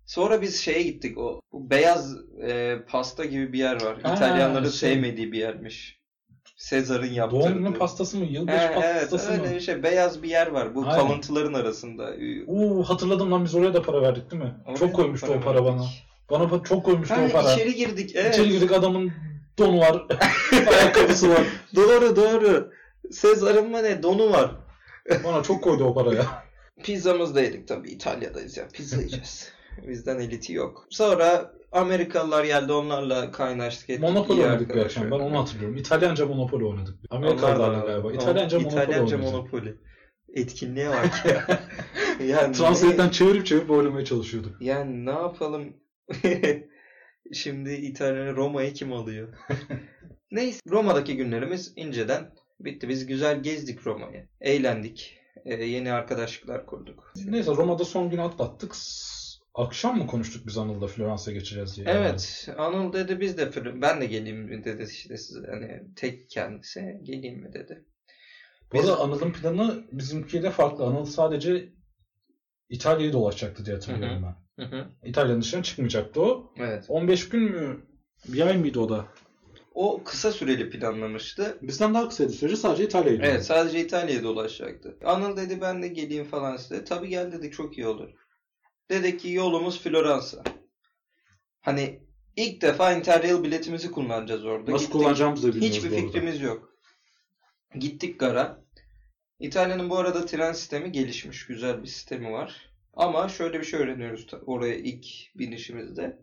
S1: Sonra biz şeye gittik o bu beyaz e, pasta gibi bir yer var.
S2: Aa,
S1: İtalyanların
S2: şey.
S1: sevmediği bir yermiş. Sezar'ın yaptırdığı.
S2: Doğum günü pastası mı? Yılbaşı
S1: Ha, evet
S2: pastası
S1: öyle
S2: mı?
S1: bir şey beyaz bir yer var bu
S2: Aynen.
S1: kalıntıların arasında. Ü-
S2: Oo hatırladım lan biz oraya da para verdik değil mi?
S1: Oraya
S2: çok koymuştu
S1: para
S2: o para bana.
S1: verdik.
S2: Bana pa- çok koymuştu
S1: Ha,
S2: o para.
S1: içeri girdik evet.
S2: İçeri girdik adamın donu var. ayakkabısı var.
S1: Doğru doğru. Sezar'ın mı ne donu var.
S2: Bana çok koydu o paraya.
S1: Pizzamızı da yedik tabii İtalya'dayız ya pizza yiyeceğiz. Bizden eliti yok. Sonra Amerikalılar geldi onlarla kaynaştık ettik.
S2: Monopoly
S1: iyi
S2: oynadık bir
S1: arkadaş
S2: akşam.
S1: olduk.
S2: Ben onu hatırlıyorum. İtalyanca Monopoly oynadık. Amerikalılarla galiba. İtalyanca Monopoly
S1: İtalyanca
S2: oynadık.
S1: Monopoly. Etkinliğe bak ya. yani,
S2: Translate'den çevirip çevirip oynamaya çalışıyorduk.
S1: ne, yani ne yapalım? Şimdi İtalya'ya Roma'yı kim alıyor? Neyse Roma'daki günlerimiz inceden bitti. Biz güzel gezdik Roma'yı. Eğlendik. Ee, yeni arkadaşlıklar kurduk.
S2: Neyse Roma'da son günü atlattık. S- Akşam mı konuştuk biz Anıl'da Floransa'ya geçeceğiz diye?
S1: Evet. Anıl dedi biz de fır- ben de geleyim mi dedi işte size hani tek kendisi geleyim mi dedi.
S2: Bu arada
S1: Biz-
S2: Anıl'ın planı bizimkiyle farklı. Anıl sadece İtalya'yı dolaşacaktı diye hatırlıyorum ben.
S1: Hı hı.
S2: İtalya'nın dışına çıkmayacaktı o.
S1: Evet.
S2: 15 gün mü? Bir ay mıydı o da?
S1: O kısa süreli planlamıştı.
S2: Bizden daha kısaydı sürece sadece İtalya'yı
S1: Evet sadece İtalya'ya dolaşacaktı. Anıl dedi ben de geleyim falan size. Tabii gel dedik çok iyi olur. Dedi ki yolumuz Floransa. Hani ilk defa Interrail biletimizi kullanacağız orada.
S2: Nasıl
S1: Gittik.
S2: kullanacağımızı da bilmiyoruz
S1: Hiçbir
S2: bu arada.
S1: fikrimiz yok. Gittik gara. İtalya'nın bu arada tren sistemi gelişmiş. Güzel bir sistemi var. Ama şöyle bir şey öğreniyoruz ta- oraya ilk binişimizde.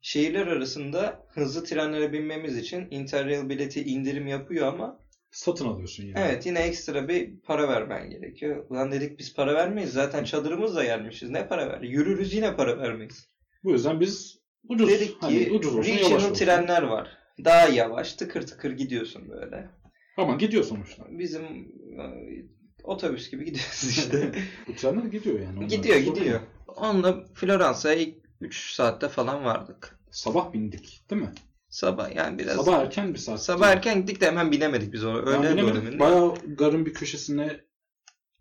S1: Şehirler arasında hızlı trenlere binmemiz için Interrail bileti indirim yapıyor ama
S2: Satın alıyorsun yani.
S1: Evet yine ekstra bir para vermen gerekiyor. Ulan dedik biz para vermeyiz. Zaten çadırımızla gelmişiz. Ne para ver? Yürürüz yine para vermeyiz.
S2: Bu yüzden biz ucuz.
S1: dedik
S2: hani
S1: ki
S2: ucuz olsun yavaş
S1: Richie'nin
S2: olsun.
S1: trenler var. Daha yavaş tıkır tıkır gidiyorsun böyle.
S2: Ama gidiyor sonuçta.
S1: Bizim e, otobüs gibi gidiyoruz işte.
S2: Bu trenler gidiyor yani. Onlar
S1: gidiyor
S2: sorun
S1: gidiyor.
S2: yok.
S1: Onunla Floransa'ya ilk 3 saatte falan vardık.
S2: Sabah bindik değil mi?
S1: Sabah yani biraz sabah,
S2: Sabah erken bir saat.
S1: erken gittik de hemen binemedik biz ona.
S2: Ben
S1: Öğlen
S2: bilemedim.
S1: bölümünde.
S2: Bayağı garın bir köşesine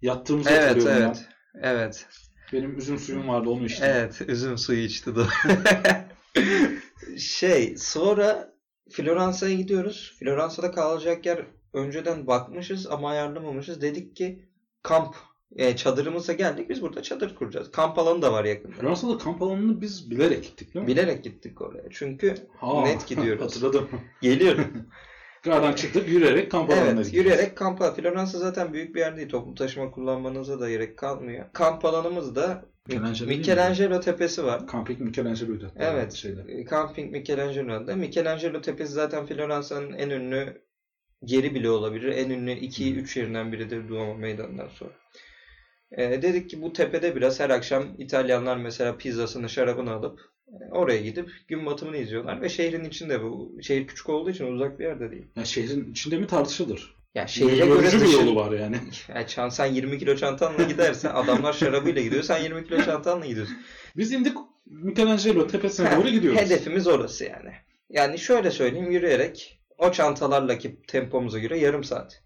S2: yattığımızı
S1: Evet
S2: hatırlıyorum ben.
S1: evet. Evet.
S2: Benim üzüm suyum vardı onu içtim.
S1: Evet, üzüm suyu içti doğru. şey, sonra Floransa'ya gidiyoruz. Floransa'da kalacak yer önceden bakmışız ama ayarlamamışız. Dedik ki kamp e, çadırımıza geldik. Biz burada çadır kuracağız. Kamp alanı da var yakında.
S2: Fransa'da kamp alanını biz bilerek gittik değil mi?
S1: Bilerek gittik oraya. Çünkü
S2: Ha,
S1: net gidiyoruz.
S2: Hatırladım.
S1: geliyorum.
S2: Gardan çıktık yürüyerek kamp alanına
S1: evet,
S2: gittik.
S1: yürüyerek kampa. Floransa zaten büyük bir yer değil. Toplu taşıma kullanmanıza da gerek kalmıyor. Kamp alanımız da
S2: Michelangelo değil mi?
S1: Michelangelo tepesi var.
S2: Kampik Michelangelo'ydu. hatta
S1: Evet.
S2: Şeyde.
S1: E, Camping Michelangelo'da. Michelangelo Tepesi zaten Floransa'nın en ünlü yeri bile olabilir. En ünlü 2-3 yerinden biridir Duomo Meydanı'ndan sonra. E, dedik ki bu tepede biraz her akşam İtalyanlar mesela pizzasını, şarabını alıp e, oraya gidip gün batımını izliyorlar ve şehrin içinde bu. Şehir küçük olduğu için uzak bir yerde değil.
S2: Ya şehrin içinde mi tartışılır?
S1: Ya şehre göre
S2: Yorucu bir
S1: dışı,
S2: yolu var yani.
S1: Ya çan, sen 20 kilo çantanla gidersen adamlar şarabıyla gidiyor sen 20 kilo çantanla gidiyorsun.
S2: Biz indik Michelangelo tepesine
S1: Ha,
S2: doğru gidiyoruz.
S1: Hedefimiz orası yani. Yani şöyle söyleyeyim yürüyerek o çantalarla ki tempomuza göre yarım saat.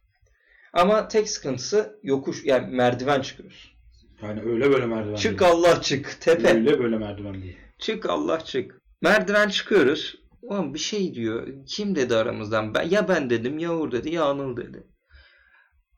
S1: Ama tek sıkıntısı yokuş yani merdiven çıkıyoruz.
S2: Yani öyle böyle merdiven
S1: Çık
S2: değil.
S1: Allah çık tepe.
S2: Öyle böyle merdiven değil.
S1: Çık Allah çık. Merdiven çıkıyoruz. Ulan bir şey diyor. Kim dedi aramızdan? Ben, ya ben dedim ya Uğur dedi ya Anıl dedi.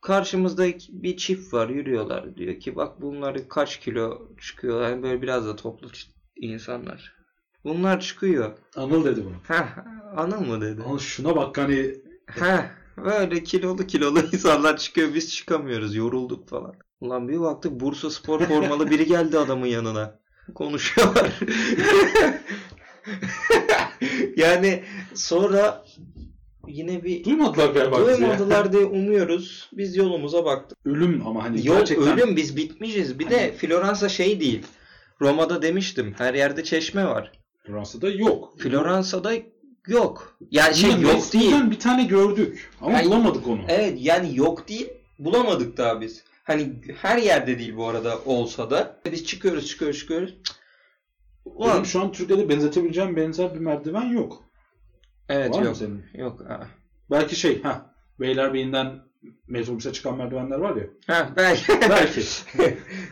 S1: Karşımızda bir çift var yürüyorlar diyor ki bak bunlar kaç kilo çıkıyor. Yani böyle biraz da toplu ç- insanlar. Bunlar çıkıyor.
S2: Anıl dedi bunu.
S1: Heh, anam mı dedi?
S2: Anıl şuna bak hani
S1: Heh, böyle kilolu kilolu insanlar çıkıyor biz çıkamıyoruz yorulduk falan. Ulan bir baktık Bursa Spor formalı biri geldi adamın yanına. Konuşuyorlar. yani sonra yine bir
S2: duymadılar galiba bizi ya.
S1: duymadılar diye umuyoruz. Biz yolumuza baktık.
S2: Ölüm ama hani
S1: Yol
S2: gerçekten
S1: ölüm biz bitmişiz. Bir de Floransa şey değil. Roma'da demiştim her yerde çeşme var.
S2: Fransa'da yok.
S1: Floransa'da yok. Yani şey
S2: Bunu
S1: yok
S2: Nesli'den
S1: değil.
S2: bir tane gördük ama
S1: Yani-
S2: bulamadık onu.
S1: Evet yani yok değil bulamadık daha biz. Hani her yerde değil bu arada olsa da. Biz çıkıyoruz çıkıyoruz çıkıyoruz. Cık. Ulan,
S2: Benim şu an Türkiye'de benzetebileceğim benzer bir merdiven yok.
S1: evet
S2: var mı
S1: yok.
S2: senin?
S1: Yok. aa.
S2: Belki şey ha Beylerbeyi'nden metrobüse çıkan merdivenler var ya.
S1: Ha, belki.
S2: Belki.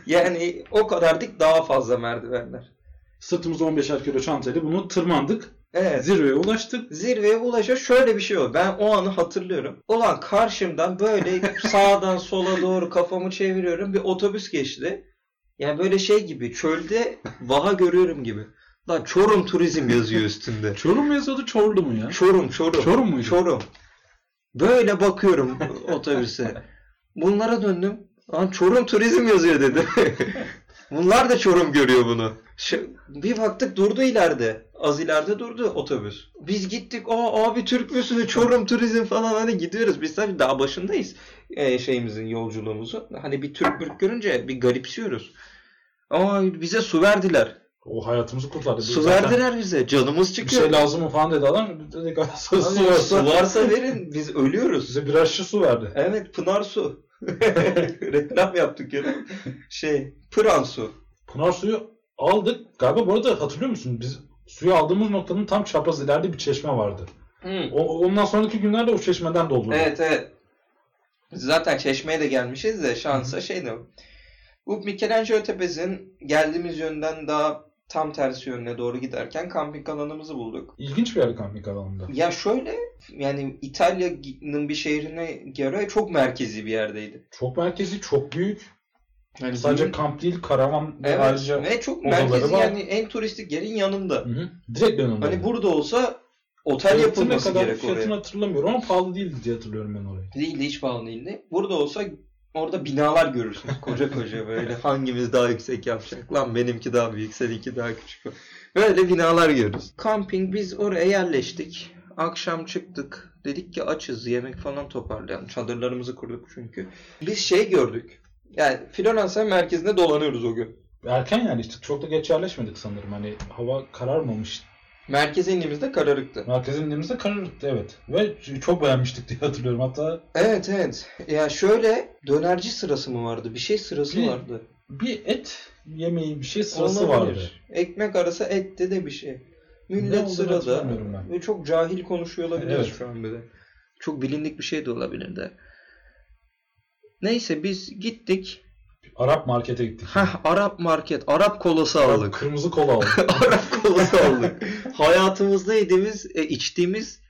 S1: yani o kadardık daha fazla merdivenler.
S2: Sırtımızda 15'er kilo çantayla bunu tırmandık.
S1: Evet.
S2: Zirveye ulaştık.
S1: Zirveye ulaşa şöyle bir şey oldu. Ben o anı hatırlıyorum. Ulan karşımdan böyle sağdan sola doğru kafamı çeviriyorum. Bir otobüs geçti. Yani böyle şey gibi çölde vaha görüyorum gibi. Lan Çorum Turizm yazıyor üstünde.
S2: Çorum mu yazıyordu Çorlu mu ya?
S1: Çorum, Çorum.
S2: Çorum muydu?
S1: Çorum. Böyle bakıyorum otobüse. Bunlara döndüm. Lan Çorum turizm yazıyor dedim. Bunlar da Çorum görüyor bunu. Şu- bir baktık durdu ileride. Az ileride durdu otobüs. Biz gittik. Aa abi Türk müsünüz? Çorum turizm falan hani gidiyoruz. Biz tabii daha başındayız. Ee, şeyimizin yolculuğumuzun. Hani bir Türk Türk görünce bir garipsiyoruz. Ama bize su verdiler.
S2: O hayatımızı kurtardı. Biz
S1: Su
S2: zaten
S1: verdiler bize. Canımız
S2: Bir
S1: çıkıyor.
S2: şey lazım mı falan dedi adam. Dedik "Ay, su,
S1: Abi,
S2: su varsa.
S1: su varsa verin biz ölüyoruz.
S2: Bize birer şişe su verdi.
S1: Evet Pınar Su. Reklam yaptık ya. Şey Pıran Su.
S2: Pınar suyu aldık. Galiba bu arada hatırlıyor musun? Biz suyu aldığımız noktanın tam çapraz ileride bir çeşme vardı. O, ondan sonraki günlerde o çeşmeden doldurduk.
S1: Evet evet. Biz Zaten çeşmeye de gelmişiz de şansa şey de. Bu Michelangelo Tepesi'nin geldiğimiz yönden daha tam tersi yönüne doğru giderken kamping alanımızı bulduk.
S2: İlginç bir yer kamping alanında.
S1: Ya şöyle yani İtalya'nın bir şehrine göre çok merkezi bir yerdeydi.
S2: Çok merkezi, çok büyük.
S1: Yani
S2: Sadece
S1: bunun-
S2: kamp değil, karavan ve
S1: evet,
S2: ayrıca...
S1: ve çok
S2: odaları
S1: merkezi
S2: var.
S1: yani en turistik yerin yanında.
S2: Hı hı. Direkt yanında.
S1: Hani burada olsa otel yapılması
S2: kadar
S1: gerek
S2: fiyatını
S1: oraya.
S2: hatırlamıyorum ama pahalı değildi diye hatırlıyorum ben orayı.
S1: Değildi hiç pahalı değildi. Burada olsa orada binalar görürsünüz koca koca böyle hangimiz daha yüksek yapacak lan benimki daha büyük seninki daha küçük. Böyle binalar görürüz. Camping biz oraya yerleştik. Akşam çıktık. Dedik ki açız yemek falan toparlayalım. Çadırlarımızı kurduk çünkü. Biz şey gördük. Yani Floransa merkezinde dolanıyoruz o gün.
S2: Erken yani işte çok da geç yerleşmedik sanırım. Hani hava kararmamış.
S1: Merkeze indiğimizde kararıktı.
S2: Merkeze indiğimizde kararırdı evet. Ve ç- çok beğenmiştik diye hatırlıyorum. Hatta
S1: Evet evet. Ya şöyle dönerci sırası mı vardı? Bir şey sırası
S2: Bir-
S1: vardı.
S2: bir et yemeği bir şey sırası
S1: Olabilir.
S2: vardı.
S1: Ekmek arası ette de bir şey.
S2: Ne
S1: Millet
S2: olduğunu
S1: sırada.
S2: hatırlamıyorum ben.
S1: Ve çok cahil konuşuyor olabiliriz
S2: Evet.
S1: şu an bir de. Çok bilindik bir şey de olabilir de. Neyse biz gittik.
S2: Arap markete gittik.
S1: Hah Arap market. Arap kolası
S2: Arap
S1: aldık.
S2: kırmızı kola aldık.
S1: Arap kolası aldık. Hayatımızda yediğimiz, e, içtiğimiz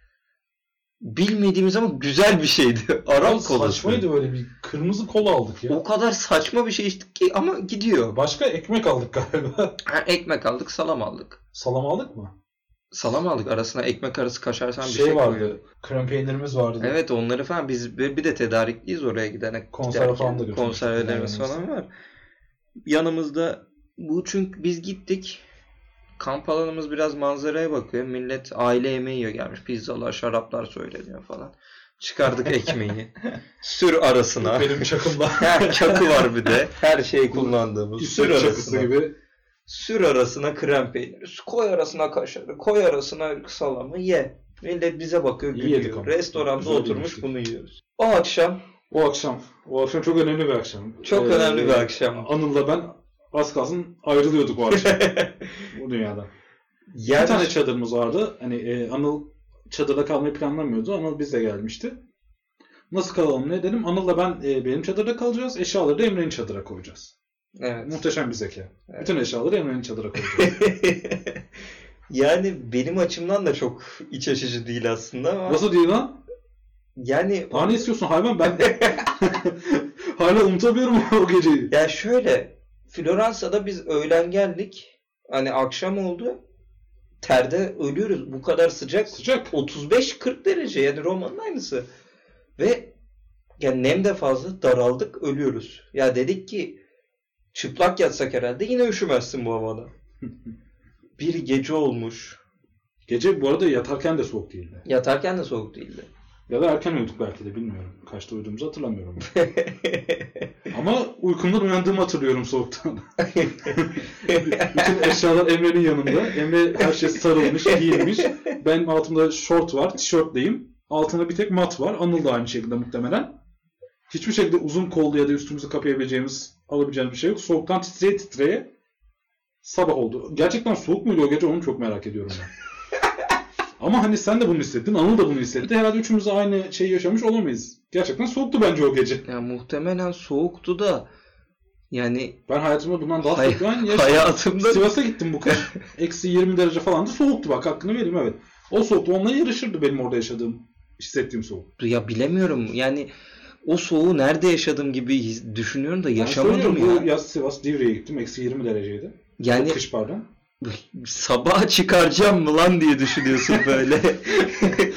S1: bilmediğimiz ama güzel bir şeydi. Arap kolası.
S2: Saçmaydı böyle bir kırmızı kola aldık ya.
S1: O kadar saçma bir şey içtik ki ama gidiyor.
S2: Başka ekmek aldık galiba.
S1: Ha, ekmek aldık, salam aldık.
S2: Salam aldık mı?
S1: salam aldık arasına ekmek arası kaşarsan bir şey,
S2: şey, vardı.
S1: koyuyor.
S2: Krem peynirimiz vardı.
S1: Evet onları falan biz bir bir de tedarikliyiz oraya gidene.
S2: Konserve
S1: giderken.
S2: falan da götürmüştük.
S1: Konservelerimiz
S2: Yani
S1: falan var. Yanımızda bu çünkü biz gittik. Kamp alanımız biraz manzaraya bakıyor. Millet aile yemeği yiyor gelmiş. Pizzalar, şaraplar söyleniyor falan. Çıkardık ekmeği. Sür arasına.
S2: Benim çakımda.
S1: Her çakı var bir de. Her
S2: şey
S1: şeyi kullandığımız. Sür
S2: İsveç çakısı
S1: arasına.
S2: gibi.
S1: Sür arasına krem peyniri, koy arasına kaşarı, koy arasına salamı ye. Millet bize bakıyor,
S2: İyi yedik
S1: gülüyor.
S2: ama.
S1: Restoranda
S2: Güzel
S1: oturmuş
S2: yemiştik.
S1: bunu yiyoruz. O akşam
S2: O akşam. O akşam çok önemli bir akşam.
S1: çok
S2: Ee,
S1: önemli bir akşam.
S2: Anıl'la ben az kalsın ayrılıyorduk o akşam. bu dünyada.
S1: Yer
S2: Bir tane çadırımız vardı. Hani e, Anıl çadırda kalmayı planlamıyordu. Anıl bizle gelmişti. Nasıl kalalım ne dedim. Anıl'la ben e, benim çadırda kalacağız. Eşyaları da Emre'nin çadıra koyacağız.
S1: Evet.
S2: Muhteşem bir zeka.
S1: Evet.
S2: Bütün eşyaları Emre'nin çadıra koyacağız.
S1: yani benim açımdan da çok iç açıcı değil aslında ama
S2: Nasıl diyor lan?
S1: yani
S2: Daha ne istiyorsun hayvan ben? Hala unutamıyorum o geceyi.
S1: Ya şöyle, Floransa'da biz öğlen geldik. Hani akşam oldu. terde ölüyoruz. Bu kadar sıcak.
S2: Sıcak.
S1: 35-40 derece yani Roma'nın aynısı. Ve yani nem de fazla daraldık ölüyoruz. Ya dedik ki çıplak yatsak herhalde yine üşümezsin bu havada. bir gece olmuş.
S2: Gece bu arada yatarken de soğuk değildi.
S1: Yatarken de soğuk değildi.
S2: Ya da erken uyuduk belki de bilmiyorum. Kaçta uyuduğumuzu hatırlamıyorum. Ama uykumdan uyandığımı hatırlıyorum soğuktan. Bütün eşyalar Emre'nin yanında. Emre her şey sarılmış, giyinmiş. Benim altımda şort var, tişörtleyim. Altında bir tek mat var. Anıl da aynı şekilde muhtemelen. Hiçbir şekilde uzun kollu ya da üstümüzü kapayabileceğimiz, alabileceğimiz bir şey yok. Soğuktan titreye titreye sabah oldu. Gerçekten soğuk muydu o gece onu çok merak ediyorum ben. Ama hani sen de bunu hissettin, Anıl da bunu hissetti. Herhalde üçümüz de aynı şeyi yaşamış olamayız. Gerçekten soğuktu bence o gece.
S1: ya muhtemelen soğuktu da yani
S2: Ben hayatımda bundan daha
S1: Hay-
S2: soğuk bir an yaşamadım.
S1: hayatımda
S2: Sivas'a gittim bu kış. Eksi 20 derece falandı. Soğuktu bak hakkını vereyim evet. O soğuktu. Onunla yarışırdı benim orada yaşadığım, hissettiğim soğuk.
S1: ya bilemiyorum yani o soğuğu nerede yaşadım gibi his- düşünüyorum da
S2: Ben
S1: yaşamadım
S2: söylüyorum,
S1: ya.
S2: Bu yaz Sivas Divri'ye gittim. Eksi 20 dereceydi.
S1: Yani
S2: Kış pardon.
S1: sabaha çıkaracağım mı lan diye düşünüyorsun böyle.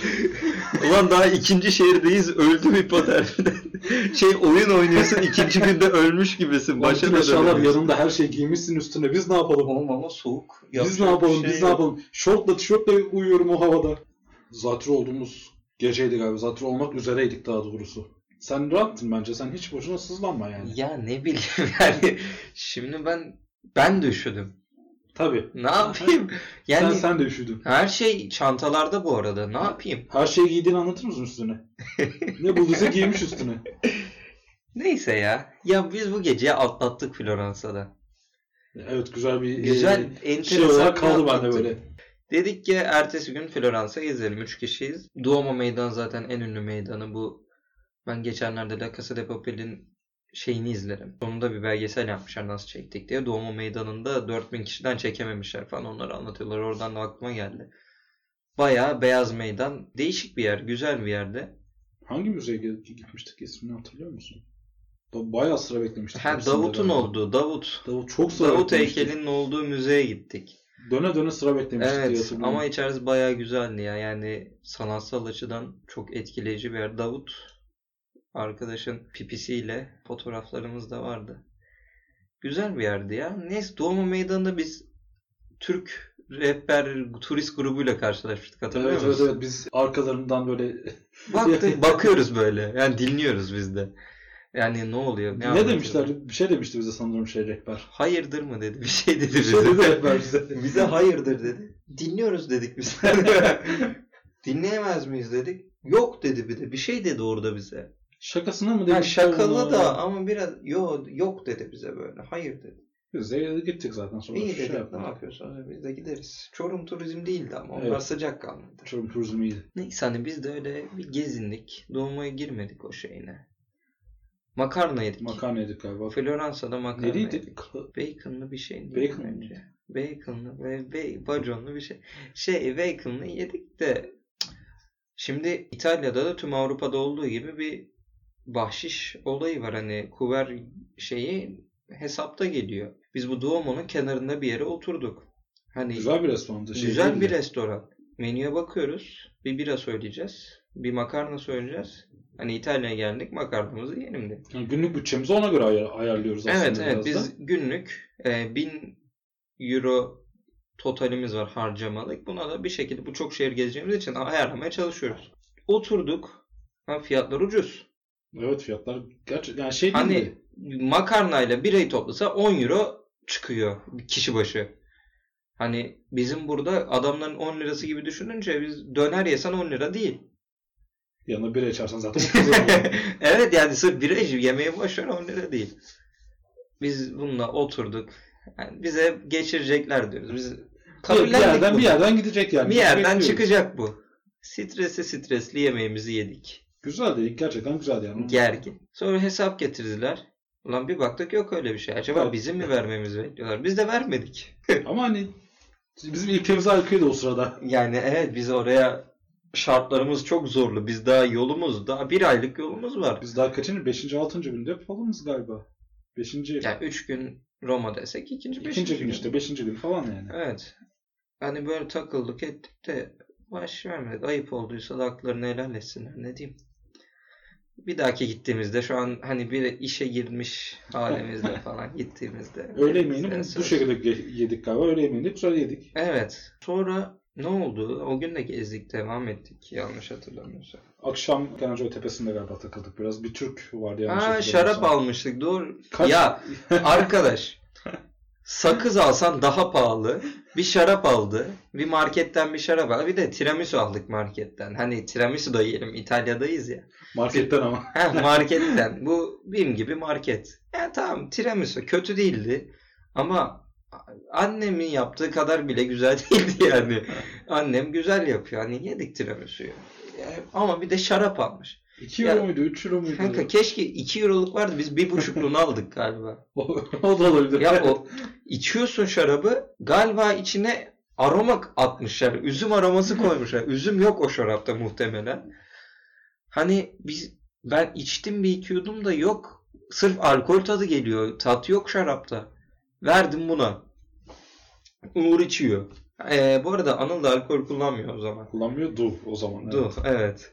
S1: Ulan daha ikinci şehirdeyiz öldü bir pater. şey oyun oynuyorsun ikinci günde ölmüş gibisin. Başa
S2: Başka
S1: da
S2: eşyalar
S1: dönemiyorsun.
S2: yanında her şey giymişsin üstüne. Biz ne yapalım?
S1: Oğlum ama soğuk.
S2: biz
S1: Yapacak
S2: ne yapalım?
S1: bir şey
S2: biz ne
S1: yok.
S2: yapalım? Şortla tişörtle uyuyorum o havada. Zatürre olduğumuz geceydi galiba. Zatürre olmak üzereydik daha doğrusu. Sen rahattın bence. Sen hiç boşuna sızlanma yani.
S1: Ya ne bileyim yani. Şimdi ben ben de üşüdüm.
S2: Tabii.
S1: Ne yapayım? Yani
S2: Sen, sen de üşüdün.
S1: her şey çantalarda bu arada. Ne yapayım?
S2: Her şeyi giydiğini anlatır mısın üstüne? ne bulduysa giymiş üstüne.
S1: Neyse ya. Ya biz bu geceyi atlattık Floransa'da.
S2: Evet güzel
S1: Ee,
S2: bir
S1: Güzel,
S2: e,
S1: enteresan
S2: şey olarak
S1: bir
S2: kaldı bende
S1: atlattık.
S2: böyle.
S1: Dedik ki ertesi gün Floransa gezelim. Üç kişiyiz. Duomo Meydan zaten en ünlü meydanı bu. Ben geçenlerde La Casa de Papel'in şeyini izlerim. Sonunda bir belgesel yapmışlar nasıl çektik diye. Duomo Meydanı'nda 4000 kişiden çekememişler falan onları anlatıyorlar. Oradan da aklıma geldi. Bayağı beyaz meydan. Değişik bir yer. Güzel bir yerde.
S2: Hangi müzeye ge- gitmiştik ismini hatırlıyor musun? Da bayağı sıra beklemiştik.
S1: Ha,
S2: hepsinde
S1: Davut'un
S2: galiba.
S1: olduğu. Davut.
S2: Davut çok şey. sıra
S1: Davut
S2: beklemiştik.
S1: heykelinin olduğu müzeye gittik.
S2: Döne döne sıra beklemiştik diye
S1: Evet
S2: hatırlıyorum.
S1: ama içerisi bayağı güzeldi ya. Yani sanatsal açıdan çok etkileyici bir yer. Davut arkadaşın pipisiyle fotoğraflarımız da vardı. Güzel bir yerdi ya. Neyse Doğma Meydanı'nda biz Türk rehber turist grubuyla karşılaşmıştık hatırlıyor
S2: Evet, evet
S1: musun?
S2: evet biz arkalarından böyle
S1: Baktık, bakıyoruz böyle. Yani dinliyoruz biz de. Yani ne oluyor?
S2: ne,
S1: anlatıyor?
S2: demişler? Bir şey demişti bize sanırım şey rehber.
S1: Hayırdır mı dedi. Bir şey dedi
S2: Bir şey
S1: bize.
S2: dedi rehber bize.
S1: Bize hayırdır dedi. Dinliyoruz dedik biz. Dinleyemez miyiz dedik. Yok dedi bir de. Bir şey dedi orada bize.
S2: Şakasına mı
S1: Ha,
S2: demişti?
S1: şakalı
S2: onu?
S1: da ama biraz yo, yok dedi bize böyle. Hayır dedi.
S2: Biz de gittik zaten sonra.
S1: İyi
S2: şey
S1: dedik ne
S2: yapmadık.
S1: yapıyorsanız biz de gideriz. Çorum turizm değildi ama onlar
S2: Evet.
S1: sıcak kalmadı.
S2: Çorum turizmi iyiydi.
S1: Neyse hani biz de öyle bir gezindik. Doğumaya girmedik o şeyine. Makarna yedik.
S2: Makarna yedik galiba.
S1: Floransa'da makarna yedik.
S2: Nereydi?
S1: Bacon'lı bir şey.
S2: Bacon
S1: Bacon.
S2: mıydı?
S1: Bacon'lı ve ba- bacon'lu bir şey. Şey bacon'lı yedik de cık. şimdi İtalya'da da tüm Avrupa'da olduğu gibi bir bahşiş olayı var. Hani kuver şeyi hesapta geliyor. Biz bu Duomo'nun kenarında bir yere oturduk. Hani güzel,
S2: Güzel bir restorandı. Şey değildi.
S1: bir restoran. Menüye bakıyoruz. Bir bira söyleyeceğiz. Bir makarna söyleyeceğız. Hani İtalya'ya geldik makarnamızı yiyelim dedik.
S2: Yani günlük bütçemizi ona göre ayar- ayarlıyoruz aslında.
S1: Evet evet
S2: biraz da.
S1: biz günlük e, 1000 euro totalimiz var harcamalık. Buna da bir şekilde bu çok şehir gezeceğimiz için ayarlamaya çalışıyoruz. Oturduk. Ha, fiyatlar ucuz.
S2: Evet fiyatlar gerçi yani şey
S1: Hani-
S2: değildi.
S1: Makarnayla birayı toplasa 10 euro çıkıyor kişi başı. Hani bizim burada adamların 10 lirası gibi düşününce biz döner yesen 10 lira değil.
S2: Yanına bira içersen zaten 30 lira.
S1: evet yani sırf biraj yemeği boş ver 10 lira değil. Biz bununla oturduk. Yani bize geçirecekler diyoruz. Biz
S2: bir
S1: kabullendik
S2: yerden
S1: bunu.
S2: bir yerden gidecek yani.
S1: Bir yerden
S2: Bekliyoruz.
S1: çıkacak bu. Stresli stresli yemeğimizi yedik.
S2: Güzeldi. Gerçekten güzeldi yani.
S1: Gergin. Sonra hesap getirdiler. Ulan bir baktık yok öyle bir şey. Acaba
S2: Evet.
S1: bizim mi vermemizi bekliyorlar? Biz de vermedik.
S2: Ama hani bizim ülkemize aykırıydı o sırada.
S1: Yani evet biz oraya şartlarımız çok zorlu. Biz daha yolumuz daha bir aylık yolumuz var.
S2: Biz daha kaçıncı? 5. 6. günde falanız galiba. 5.
S1: Yani 3 gün Roma desek ikinci beşinci
S2: ikinci gün işte 5. gün falan yani.
S1: Evet. hani böyle takıldık ettik de baş vermedik. Ayıp olduysa da haklarını helal etsinler. Ne diyeyim? Bir dahaki gittiğimizde şu an hani bir işe girmiş halimizde falan gittiğimizde.
S2: Öğle yemeğini
S1: Size
S2: bu, bu
S1: söz.
S2: şekilde ge- yedik galiba. Öğle yemeğini de güzel yedik.
S1: Evet. Sonra ne oldu? O gün de gezdik devam ettik yanlış hatırlamıyorsam.
S2: Akşam Kenancı tepesinde galiba takıldık biraz. Bir Türk vardı yanlış
S1: Aa
S2: hatırlamıyorsam.
S1: şarap almıştık doğru.
S2: Kaç-
S1: Ya arkadaş sakız alsan daha pahalı. Bir şarap aldı. Bir marketten bir şarap aldı. Bir de tiramisu aldık marketten. Hani tiramisu da yiyelim İtalya'dayız ya.
S2: Marketten ama.
S1: Ha, marketten. Bu BİM gibi market. Ya tamam tiramisu kötü değildi. Ama annemin yaptığı kadar bile güzel değildi yani. Annem güzel yapıyor. Hani yedik tiramisuyu. Ya, ama bir de şarap almış.
S2: 2 euro
S1: Ya-
S2: muydu? 3 euro muydu?
S1: Kanka keşke 2 euroluk vardı. Biz bir buçukluğunu aldık galiba.
S2: o da olabilir.
S1: Ya o içiyorsun şarabı galiba içine aroma atmışlar. Üzüm aroması koymuşlar. Üzüm yok o şarapta muhtemelen. Hani biz ben içtim bir iki yudum da yok. Sırf alkol tadı geliyor. Tat yok şarapta. Verdim buna. Uğur içiyor. Ee, bu arada Anıl da alkol kullanmıyor o zaman.
S2: Kullanmıyor du o zaman.
S1: Dur
S2: evet.
S1: evet.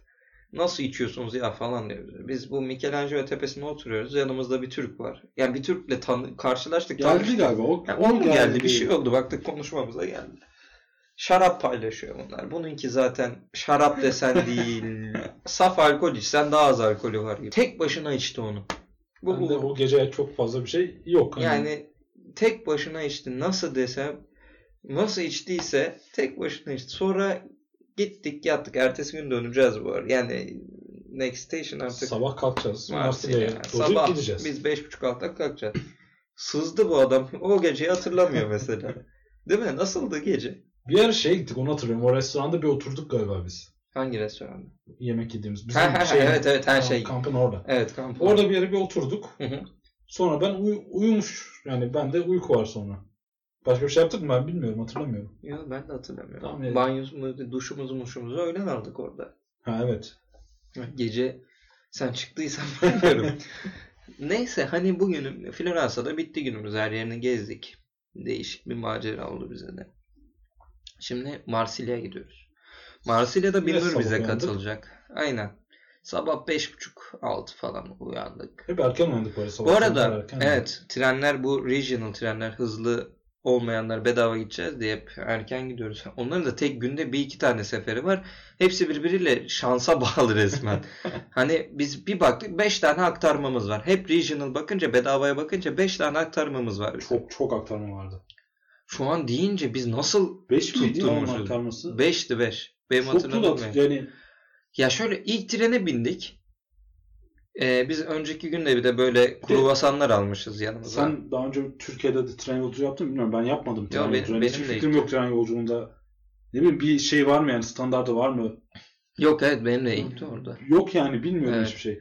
S1: Nasıl içiyorsunuz ya falan diyoruz. Biz bu Michelangelo tepesine oturuyoruz. Yanımızda bir Türk var. Yani bir Türk'le tanı karşılaştık.
S2: Geldi
S1: tanıştık.
S2: galiba. O,
S1: Yani
S2: o
S1: o mu geldi bir şey oldu. Baktık konuşmamıza geldi. Şarap paylaşıyor bunlar. Bununki zaten şarap desen değil. Saf alkol içsen daha az alkolü var gibi. Tek başına içti onu. Bu,
S2: Ben de
S1: bu-
S2: o gece çok fazla bir şey yok. Hani
S1: yani tek başına içti. Nasıl desem nasıl içtiyse tek başına içti. Sonra gittik yattık. Ertesi gün döneceğiz bu arada. Yani next station artık.
S2: sabah kalkacağız.
S1: Marsilya'ya.
S2: Marsilya'ya doğru
S1: Sabah
S2: gideceğiz.
S1: biz 5.30-6'da kalkacağız. Sızdı bu adam. O geceyi hatırlamıyor mesela. Değil mi? Nasıldı gece?
S2: Bir yer şeye gittik onu hatırlıyorum. O restoranda bir oturduk galiba biz.
S1: Hangi restoranda?
S2: Yemek yediğimiz. Bizim
S1: Ha, ha,
S2: şey-
S1: evet evet her
S2: kamp-
S1: şey.
S2: Kampın orada.
S1: Evet kamp.
S2: Orada bir yere bir oturduk.
S1: Hı hı.
S2: Sonra ben uy- uyumuş. Yani bende uyku var sonra. Başka bir şey yaptık mı ben bilmiyorum hatırlamıyorum.
S1: Yo, ben de hatırlamıyorum.
S2: Tamam, evet.
S1: Banyomuz, duşumuzu, muşumuzu öğlen aldık orada.
S2: Ha evet.
S1: Gece sen çıktıysan bilmiyorum. Neyse hani bugünüm Floransa'da bitti günümüz. Her yerini gezdik. Değişik bir macera oldu bize de. Şimdi Marsilya'ya gidiyoruz. Marsilya'da
S2: Yine
S1: Bilmur
S2: sabah
S1: bize
S2: uyandık.
S1: katılacak. Aynen. Sabah 5.30-6 falan uyandık.
S2: Hep erken uyandık böyle sabah.
S1: Bu
S2: Sabah
S1: arada
S2: erken
S1: evet trenler bu regional trenler hızlı olmayanlar bedava gideceğiz diye hep erken gidiyoruz. Onların da tek günde bir iki tane seferi var. Hepsi birbiriyle şansa bağlı resmen. hani biz bir baktık 5 tane aktarmamız var. Hep regional bakınca bedavaya bakınca 5 tane aktarmamız var. bizim.
S2: Çok çok aktarma vardı.
S1: Şu an deyince biz nasıl
S2: 5 miydi onun
S1: Tutturmuşuz.
S2: aktarması?
S1: 5'ti 5. Benim
S2: Çok da
S1: hatırladığım
S2: tut- yani
S1: Ya şöyle ilk trene bindik. Ee, biz önceki günde bir de böyle kruvasanlar almışız yanımıza.
S2: sen daha önce Türkiye'de de tren yolculuğu yaptın mı bilmiyorum. Ben yapmadım tren
S1: benim-
S2: yolculuğu. Yani
S1: benim
S2: Hiçbir
S1: de
S2: fikrim yok tren yolculuğunda. Ne bileyim bir şey var mı yani standardı var mı?
S1: Yok evet benim de ilkti orada.
S2: Yok yani bilmiyorum
S1: Evet.
S2: hiçbir şey.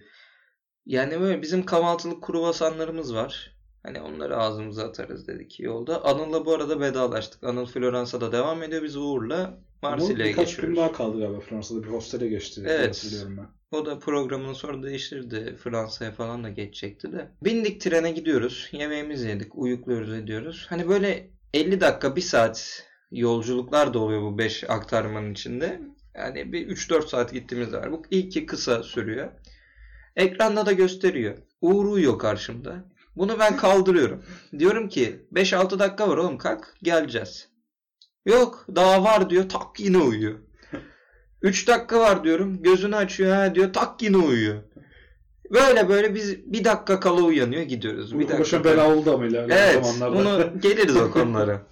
S1: Yani böyle bizim kahvaltılık kruvasanlarımız var. Hani onları ağzımıza atarız dedik yolda. Anıl'la bu arada vedalaştık. Anıl Floransa'da devam ediyor. Biz Uğur'la
S2: Ama
S1: Marsilya'ya
S2: birkaç gün
S1: geçiyoruz.
S2: daha kaldı galiba Fransa'da bir hostele geçti. diye
S1: Evet.
S2: Hatırlıyorum ben.
S1: O da programını sonra değiştirdi. Fransa'ya falan da geçecekti de. Bindik trene gidiyoruz. Yemeğimizi yedik. Uyukluyoruz ediyoruz. Hani böyle 50 dakika 1 saat yolculuklar da oluyor bu 5 aktarmanın içinde. Yani bir 3-4 saat gittiğimiz de var. Bu ilki kısa sürüyor. Ekranda da gösteriyor. Uğur uyuyor karşımda. Bunu ben kaldırıyorum. Diyorum ki 5-6 dakika var oğlum kalk geleceğiz. Yok daha var diyor tak yine uyuyor. 3 dakika var diyorum. Gözünü açıyor ha diyor. Tak yine uyuyor. Böyle böyle biz bir dakika kala uyanıyor gidiyoruz.
S2: Bu
S1: Bir
S2: başa
S1: dakika.
S2: bela oldu ama ilerleyen
S1: Evet.
S2: zamanlarda.
S1: Bunu geliriz o konulara.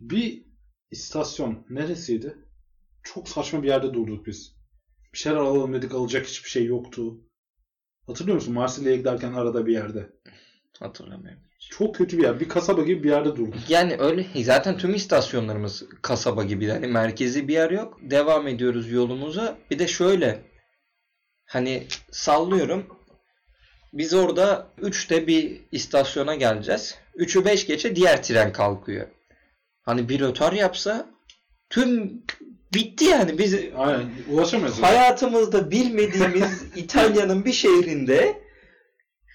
S2: Bir istasyon neresiydi? Çok saçma bir yerde durduk biz. Bir şeyler alalım dedik alacak hiçbir şey yoktu. Hatırlıyor musun Marsilya'ya giderken arada bir yerde.
S1: Hatırlamıyorum.
S2: Çok kötü bir yer. Bir kasaba gibi bir yerde durduk.
S1: Yani öyle zaten tüm istasyonlarımız kasaba gibi yani merkezi bir yer yok. Devam ediyoruz yolumuza. Bir de şöyle hani sallıyorum. Biz orada 3'te bir istasyona geleceğiz. 3'ü 5 geçe diğer tren kalkıyor. Hani bir rötar yapsa tüm bitti yani. Biz
S2: Aynen ulaşamayız.
S1: hayatımızda bilmediğimiz İtalya'nın bir şehrinde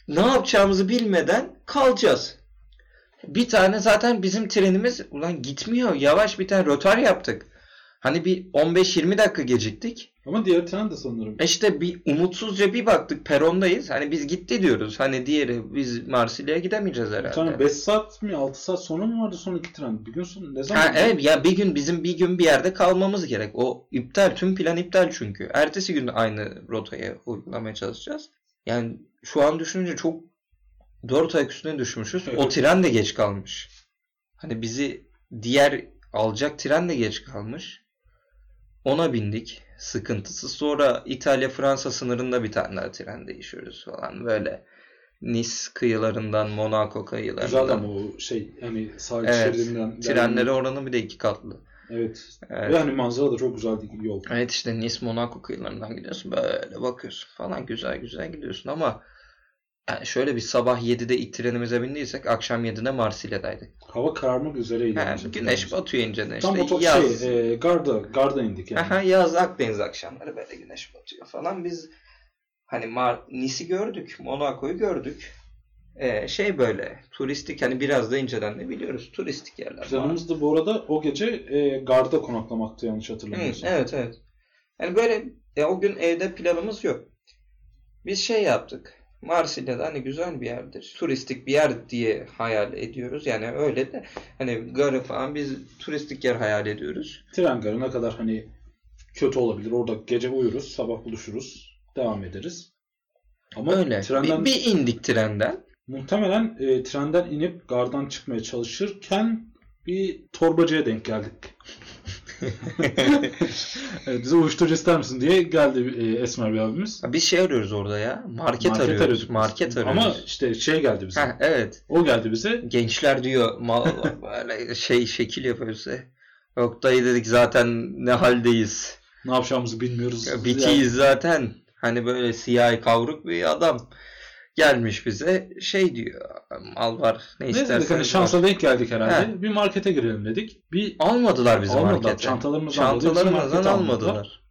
S1: ne yapacağımızı bilmeden kalacağız. Bir tane zaten bizim trenimiz ulan gitmiyor. Yavaş bir tane rotar yaptık. Hani bir 15-20 dakika geciktik.
S2: Ama diğer tren de sanırım.
S1: E İşte bir umutsuzca bir baktık perondayız. Hani biz gitti diyoruz. Hani diğeri biz Marsilya'ya gidemeyeceğiz
S2: Bir
S1: herhalde.
S2: tane 5 saat mi 6 saat sonra mı vardı son iki tren? Bir gün sonra ne zaman?
S1: Ha, evet ya bir gün bizim bir gün bir yerde kalmamız gerek. O iptal tüm plan iptal çünkü. Ertesi gün aynı rotaya uygulamaya çalışacağız. Yani şu an düşününce çok 4 ay üstüne düşmüşüz. O
S2: Evet.
S1: tren de geç kalmış. Hani bizi diğer alacak tren de geç kalmış. Ona bindik sıkıntısız. Sonra İtalya-Fransa sınırında bir tane daha tren değişiyoruz falan böyle. Nice kıyılarından Monaco kıyılarından.
S2: Güzel ama o şey yani sahil
S1: Evet,
S2: şeridinden.
S1: Trenleri oranın bir de iki katlı.
S2: Evet.
S1: Evet.
S2: Ve hani manzara da çok güzeldi yol.
S1: Evet işte Nice Monaco kıyılarından gidiyorsun böyle bakıyorsun falan güzel güzel gidiyorsun ama yani şöyle bir sabah 7'de ilk trenimize bindiysek akşam 7'de Marsilya'daydık.
S2: Hava kararmak üzereydi.
S1: Yani
S2: bizim
S1: güneş
S2: trenimiz.
S1: batıyor inceden
S2: Tam
S1: işte
S2: otop
S1: yaz.
S2: şey, e, Garda, Garda indik yani.
S1: Aha, yaz Akdeniz akşamları böyle güneş batıyor falan biz hani Mar Nice'i gördük Monaco'yu gördük. Ee, şey böyle turistik hani biraz da inceden de biliyoruz turistik yerler.
S2: Planımız da bu arada o gece e, Garda konaklamaktı yanlış
S1: Hı,
S2: hatırlamıyorsam.
S1: evet evet. Yani böyle e, o gün evde planımız yok. Biz şey yaptık. Marsilya'da hani güzel bir yerdir. Turistik bir yer diye hayal ediyoruz. Yani öyle de hani garı falan biz turistik yer hayal ediyoruz.
S2: Tren garı ne kadar hani kötü olabilir. Orada gece uyuruz, sabah buluşuruz, devam ederiz. Ama
S1: Öyle. Bir,
S2: trenden
S1: bir indik trenden.
S2: muhtemelen e, trenden inip gardan çıkmaya çalışırken bir torbacıya denk geldik. Evet, bize uyuşturucu ister misin diye geldi e, Esmer bir abimiz.
S1: Ha, Biz şey arıyoruz orada ya. Market, arıyoruz.
S2: arıyorduk biz.
S1: Market arıyoruz.
S2: Ama işte şey geldi bize.
S1: Ha, evet.
S2: O geldi bize.
S1: Gençler diyor mal böyle şey şekil yapıyor bize. Yok dayı dedik zaten ne haldeyiz.
S2: Ne yapacağımızı bilmiyoruz.
S1: Ya Bitiyiz zaten. Hani böyle siyahi kavruk bir adam gelmiş bize şey diyor. Al var ne
S2: Ne dedik hani
S1: istersen.
S2: şansa denk geldik herhalde.
S1: He.
S2: Bir markete girelim dedik. Bir
S1: Almadılar bizi
S2: almadılar.
S1: markete.
S2: Çantalarımızdan dolayı bizi
S1: Çantalarımızdan
S2: markete
S1: almadılar.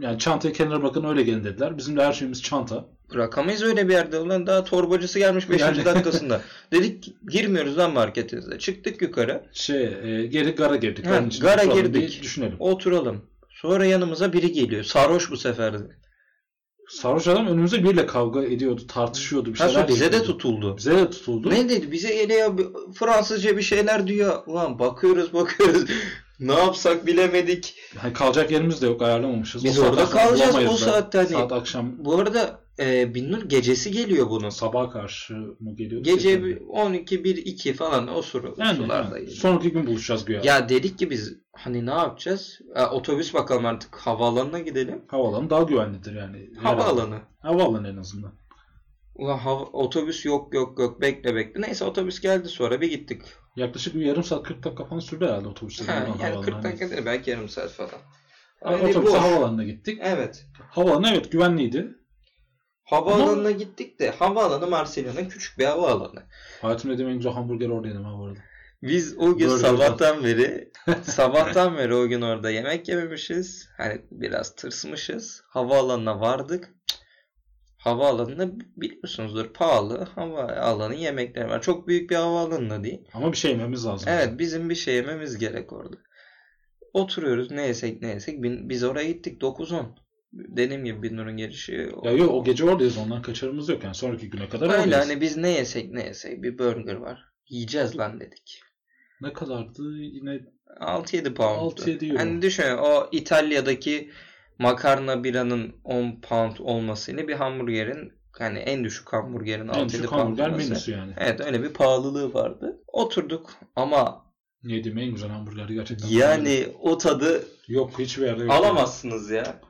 S2: Yani çantayı kenara bırakın öyle gelin dediler. Bizim de her şeyimiz çanta.
S1: Bırakamayız öyle bir yerde. Ulan daha torbacısı gelmiş 5.
S2: Yani.
S1: dakikasında. Dedik ki, girmiyoruz lan marketinize. Çıktık yukarı.
S2: Şey e, geri gara girdik.
S1: Ha,
S2: Onun için
S1: gara
S2: oturalım,
S1: girdik.
S2: bir düşünelim.
S1: Oturalım. Sonra yanımıza biri geliyor. Sarhoş bu sefer de.
S2: Sarhoş adam önümüzde biriyle kavga ediyordu, tartışıyordu bir
S1: Ha,
S2: şeyler.
S1: sonra şey bize de
S2: yapıyordu.
S1: tutuldu.
S2: Bize de tutuldu.
S1: Ne dedi? Bize geliyor bir- Fransızca bir şeyler diyor. Ulan bakıyoruz bakıyoruz. ne yapsak bilemedik.
S2: Hani kalacak yerimiz de yok ayarlamamışız.
S1: Biz
S2: O
S1: orada
S2: saatten sonra
S1: kalacağız,
S2: bulamayız
S1: o
S2: da.
S1: saatte hani.
S2: Saat akşam
S1: Bu arada e, Binnur gecesi geliyor bunun.
S2: sabaha karşı mı geliyor?
S1: Gece bir
S2: bir...
S1: 12, 1, 2 falan o sor-
S2: Yani,
S1: sularda
S2: yani.
S1: geliyor.
S2: Sonraki gün buluşacağız güya.
S1: Ya dedik ki biz hani ne yapacağız? E, otobüs bakalım artık havaalanına gidelim.
S2: Havaalanı daha güvenlidir yani.
S1: Havaalanı.
S2: Havaalanı en azından.
S1: Ulan hava, otobüs yok yok yok bekle bekle. Neyse otobüs geldi sonra bir gittik.
S2: Yaklaşık bir yarım saat 40 dakika falan sürdü herhalde otobüste.
S1: Ha,
S2: buradan
S1: yani
S2: havaalanına.
S1: 40
S2: hani.
S1: dakika değil belki yarım saat falan.
S2: Yani
S1: Öyle
S2: otobüste
S1: boş.
S2: havaalanına gittik.
S1: Evet.
S2: Havaalanı evet güvenliydi.
S1: Havaalanına gittik de havaalanı Marsilya'nın küçük bir havaalanı.
S2: Hayatımda yediğim en güzel hamburgeri orada yedim ha bu arada.
S1: Biz o gün
S2: Burger'dan.
S1: sabahtan beri sabahtan beri o gün orada yemek yememişiz. Hani biraz tırsmışız. Havaalanına vardık. Cık. Havaalanında biliyorsunuzdur pahalı havaalanı yemekleri var. Çok büyük bir havaalanı da değil.
S2: Ama bir şey yememiz lazım.
S1: Evet bizim bir şey yememiz gerek orada. Oturuyoruz ne yesek ne yesek. Bin- Biz oraya gittik 9-10. Dediğim gibi Binnur'un gelişi. o-
S2: Ya yok o gece oradayız ondan kaçarımız yok yani sonraki güne kadar
S1: Öyle
S2: oradayız.
S1: hani biz ne yesek ne yesek bir burger var. Yiyeceğiz lan dedik.
S2: Ne kadardı yine
S1: 6-7 pound'du.
S2: 6-7 euro.
S1: Hani düşünün o İtalya'daki makarna biranın 10 pound olmasıyla bir hamburgerin yani en düşük hamburgerin 6-7
S2: en düşük
S1: pound
S2: hamburger
S1: olması.
S2: menüsü yani.
S1: Evet öyle bir pahalılığı vardı. Oturduk ama
S2: Yediğim en güzel hamburgeri gerçekten.
S1: yani o tadı
S2: Yok hiçbir yerde yok.
S1: alamazsınız ya.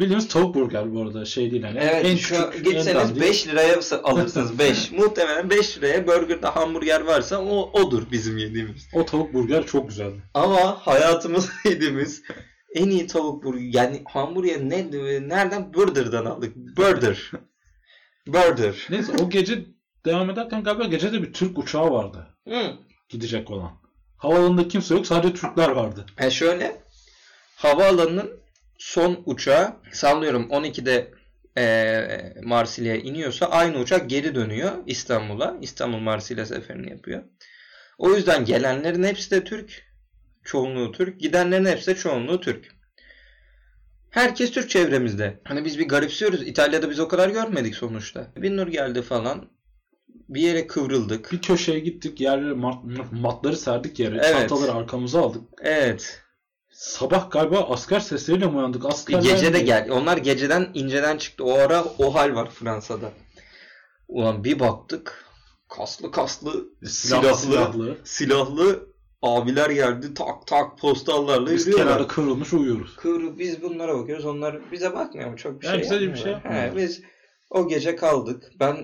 S2: Bildiğiniz tavuk burger bu arada şey değil yani.
S1: Evet
S2: en
S1: şu
S2: küçük, en
S1: gitseniz
S2: dandik.
S1: 5 liraya alırsınız 5. Muhtemelen 5 liraya burgerde hamburger varsa o odur bizim yediğimiz.
S2: O tavuk burger çok güzeldi.
S1: Ama hayatımız yediğimiz en iyi tavuk burger yani hamburger ne nereden Burger'dan aldık. Burger. Burger.
S2: Neyse o gece devam ederken galiba gece de bir Türk uçağı vardı.
S1: Hı.
S2: Gidecek olan. Havaalanında kimse yok sadece Türkler vardı.
S1: E şöyle havaalanının son uçağı sallıyorum 12'de e, Marsilya'ya iniyorsa aynı uçak geri dönüyor İstanbul'a. İstanbul Marsilya seferini yapıyor. O yüzden gelenlerin hepsi de Türk. Çoğunluğu Türk. Gidenlerin hepsi de çoğunluğu Türk. Herkes Türk çevremizde. Hani biz bir garipsiyoruz. İtalya'da biz o kadar görmedik sonuçta. Binnur geldi falan. Bir yere kıvrıldık.
S2: Bir köşeye gittik yerlere mat- matları serdik yere.
S1: Evet.
S2: Çantaları arkamıza aldık.
S1: Evet.
S2: Sabah galiba asker sesleriyle mi uyandık? Askerler
S1: E, Gece de
S2: mi?
S1: gel. Onlar geceden inceden çıktı. O ara o hal var Fransa'da. Ulan bir baktık. Kaslı kaslı,
S2: Silah-
S1: silahlı, silahlı,
S2: silahlı.
S1: abiler geldi. Tak tak postallarla
S2: Biz
S1: yürüyorlar.
S2: kenarda kıvrılmış uyuyoruz.
S1: Kıvrı biz bunlara bakıyoruz. Onlar bize bakmıyor mu? Çok bir
S3: Ya
S1: şey
S3: bize de bir şey
S1: yapmıyorlar. He,
S2: yapmıyorlar.
S1: biz o gece kaldık. Ben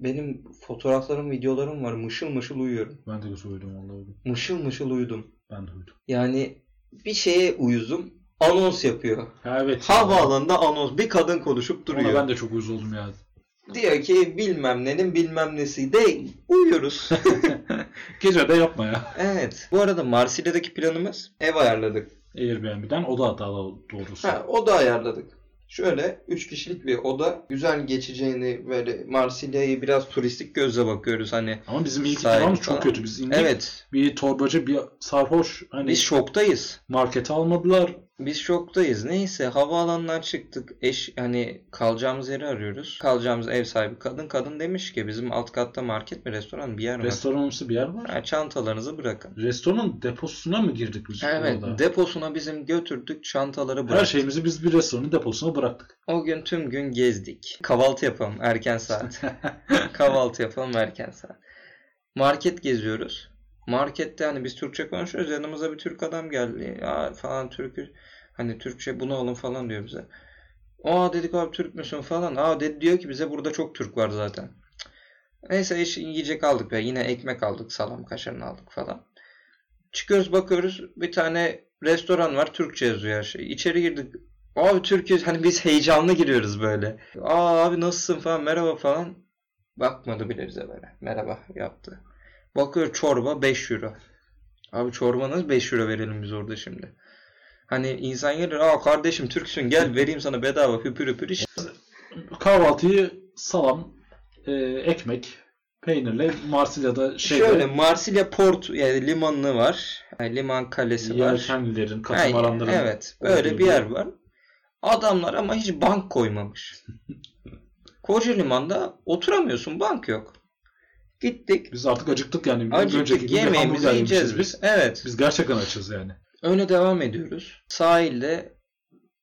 S1: benim fotoğraflarım, videolarım var. Mışıl mışıl uyuyorum.
S2: Ben de kötü uyudum vallahi. bugün.
S1: Mışıl mışıl uyudum.
S2: Ben de uyudum.
S1: Yani bir şeye uyuzum. Anons yapıyor.
S2: Ha, evet.
S1: Havaalanında anons. Bir kadın konuşup
S2: Ona
S1: duruyor.
S2: ben de çok uyuz oldum ya.
S1: Diyor ki bilmem nenin bilmem nesi de uyuyoruz.
S2: Gece de yapma ya.
S1: evet. Bu arada Marsilya'daki planımız ev ayarladık.
S2: Airbnb'den o da daha doğrusu.
S1: Ha, oda ayarladık. Şöyle 3 kişilik bir oda. Güzel geçeceğini böyle Marsilya'yı biraz turistik gözle bakıyoruz hani.
S2: Ama bizim ilk
S1: Sahil
S2: ikramımız
S1: falan.
S2: çok kötü. Biz indik
S1: Evet.
S2: bir torbacı bir sarhoş hani
S1: Biz şoktayız.
S2: markete almadılar.
S1: Biz şoktayız. Neyse havaalanından çıktık. Eş hani kalacağımız yeri arıyoruz. Kalacağımız ev sahibi kadın. Kadın demiş ki bizim alt katta market mi restoran mı bir yer var.
S2: Restoranımsı bir yer var.
S1: Ha, çantalarınızı bırakın.
S2: Restoranın deposuna mı girdik biz
S1: Evet,
S2: orada?
S1: deposuna bizim götürdük, çantaları bıraktık.
S2: Her şey şeyimizi biz bir restoranın deposuna bıraktık.
S1: O gün tüm gün gezdik. Kahvaltı yapalım erken saat. Kahvaltı yapalım erken saat. Market geziyoruz. Markette hani biz Türkçe konuşuyoruz. Yanımıza bir Türk adam geldi. Aa falan Türk'ü hani Türkçe bunu alın falan diyor bize. Aa dedik abi Türk müsün falan. Aa dedi diyor ki bize burada çok Türk var zaten. Cık. Neyse iş yiyecek aldık be. Yine ekmek aldık, salam kaşarını aldık falan. Çıkıyoruz bakıyoruz bir tane restoran var Türkçe yazıyor her şey. İçeri girdik Abi Türk'üz hani biz heyecanlı giriyoruz böyle. Aa abi nasılsın falan merhaba falan. Bakmadı bile bize böyle. Merhaba yaptı. Bakıyor çorba 5 euro. Abi çorbanız 5 euro verelim biz orada şimdi. Hani insan gelir aa kardeşim Türksün gel vereyim sana bedava hüpür hüpür iç.
S2: Kahvaltıyı salam, e, ekmek, peynirle Marsilya'da şeyde
S1: Şöyle Marsilya port yani limanı var. Yani liman kalesi var.
S2: yelkenlilerin,
S1: Aynen,
S2: katamaranların
S1: Evet. Böyle
S2: olduğu
S1: bir yer
S2: bir-
S1: var. Adamlar ama hiç bank koymamış. Koca limanda oturamıyorsun. Bank yok. Gittik.
S2: Biz artık acıktık yani.
S1: Acıktık.
S2: gibi hamburger
S1: Yemeğimizi
S2: yemişiz
S1: yiyeceğiz biz.
S2: biz.
S1: Evet.
S2: Biz gerçekten açız yani.
S1: Öyle devam ediyoruz. Sahilde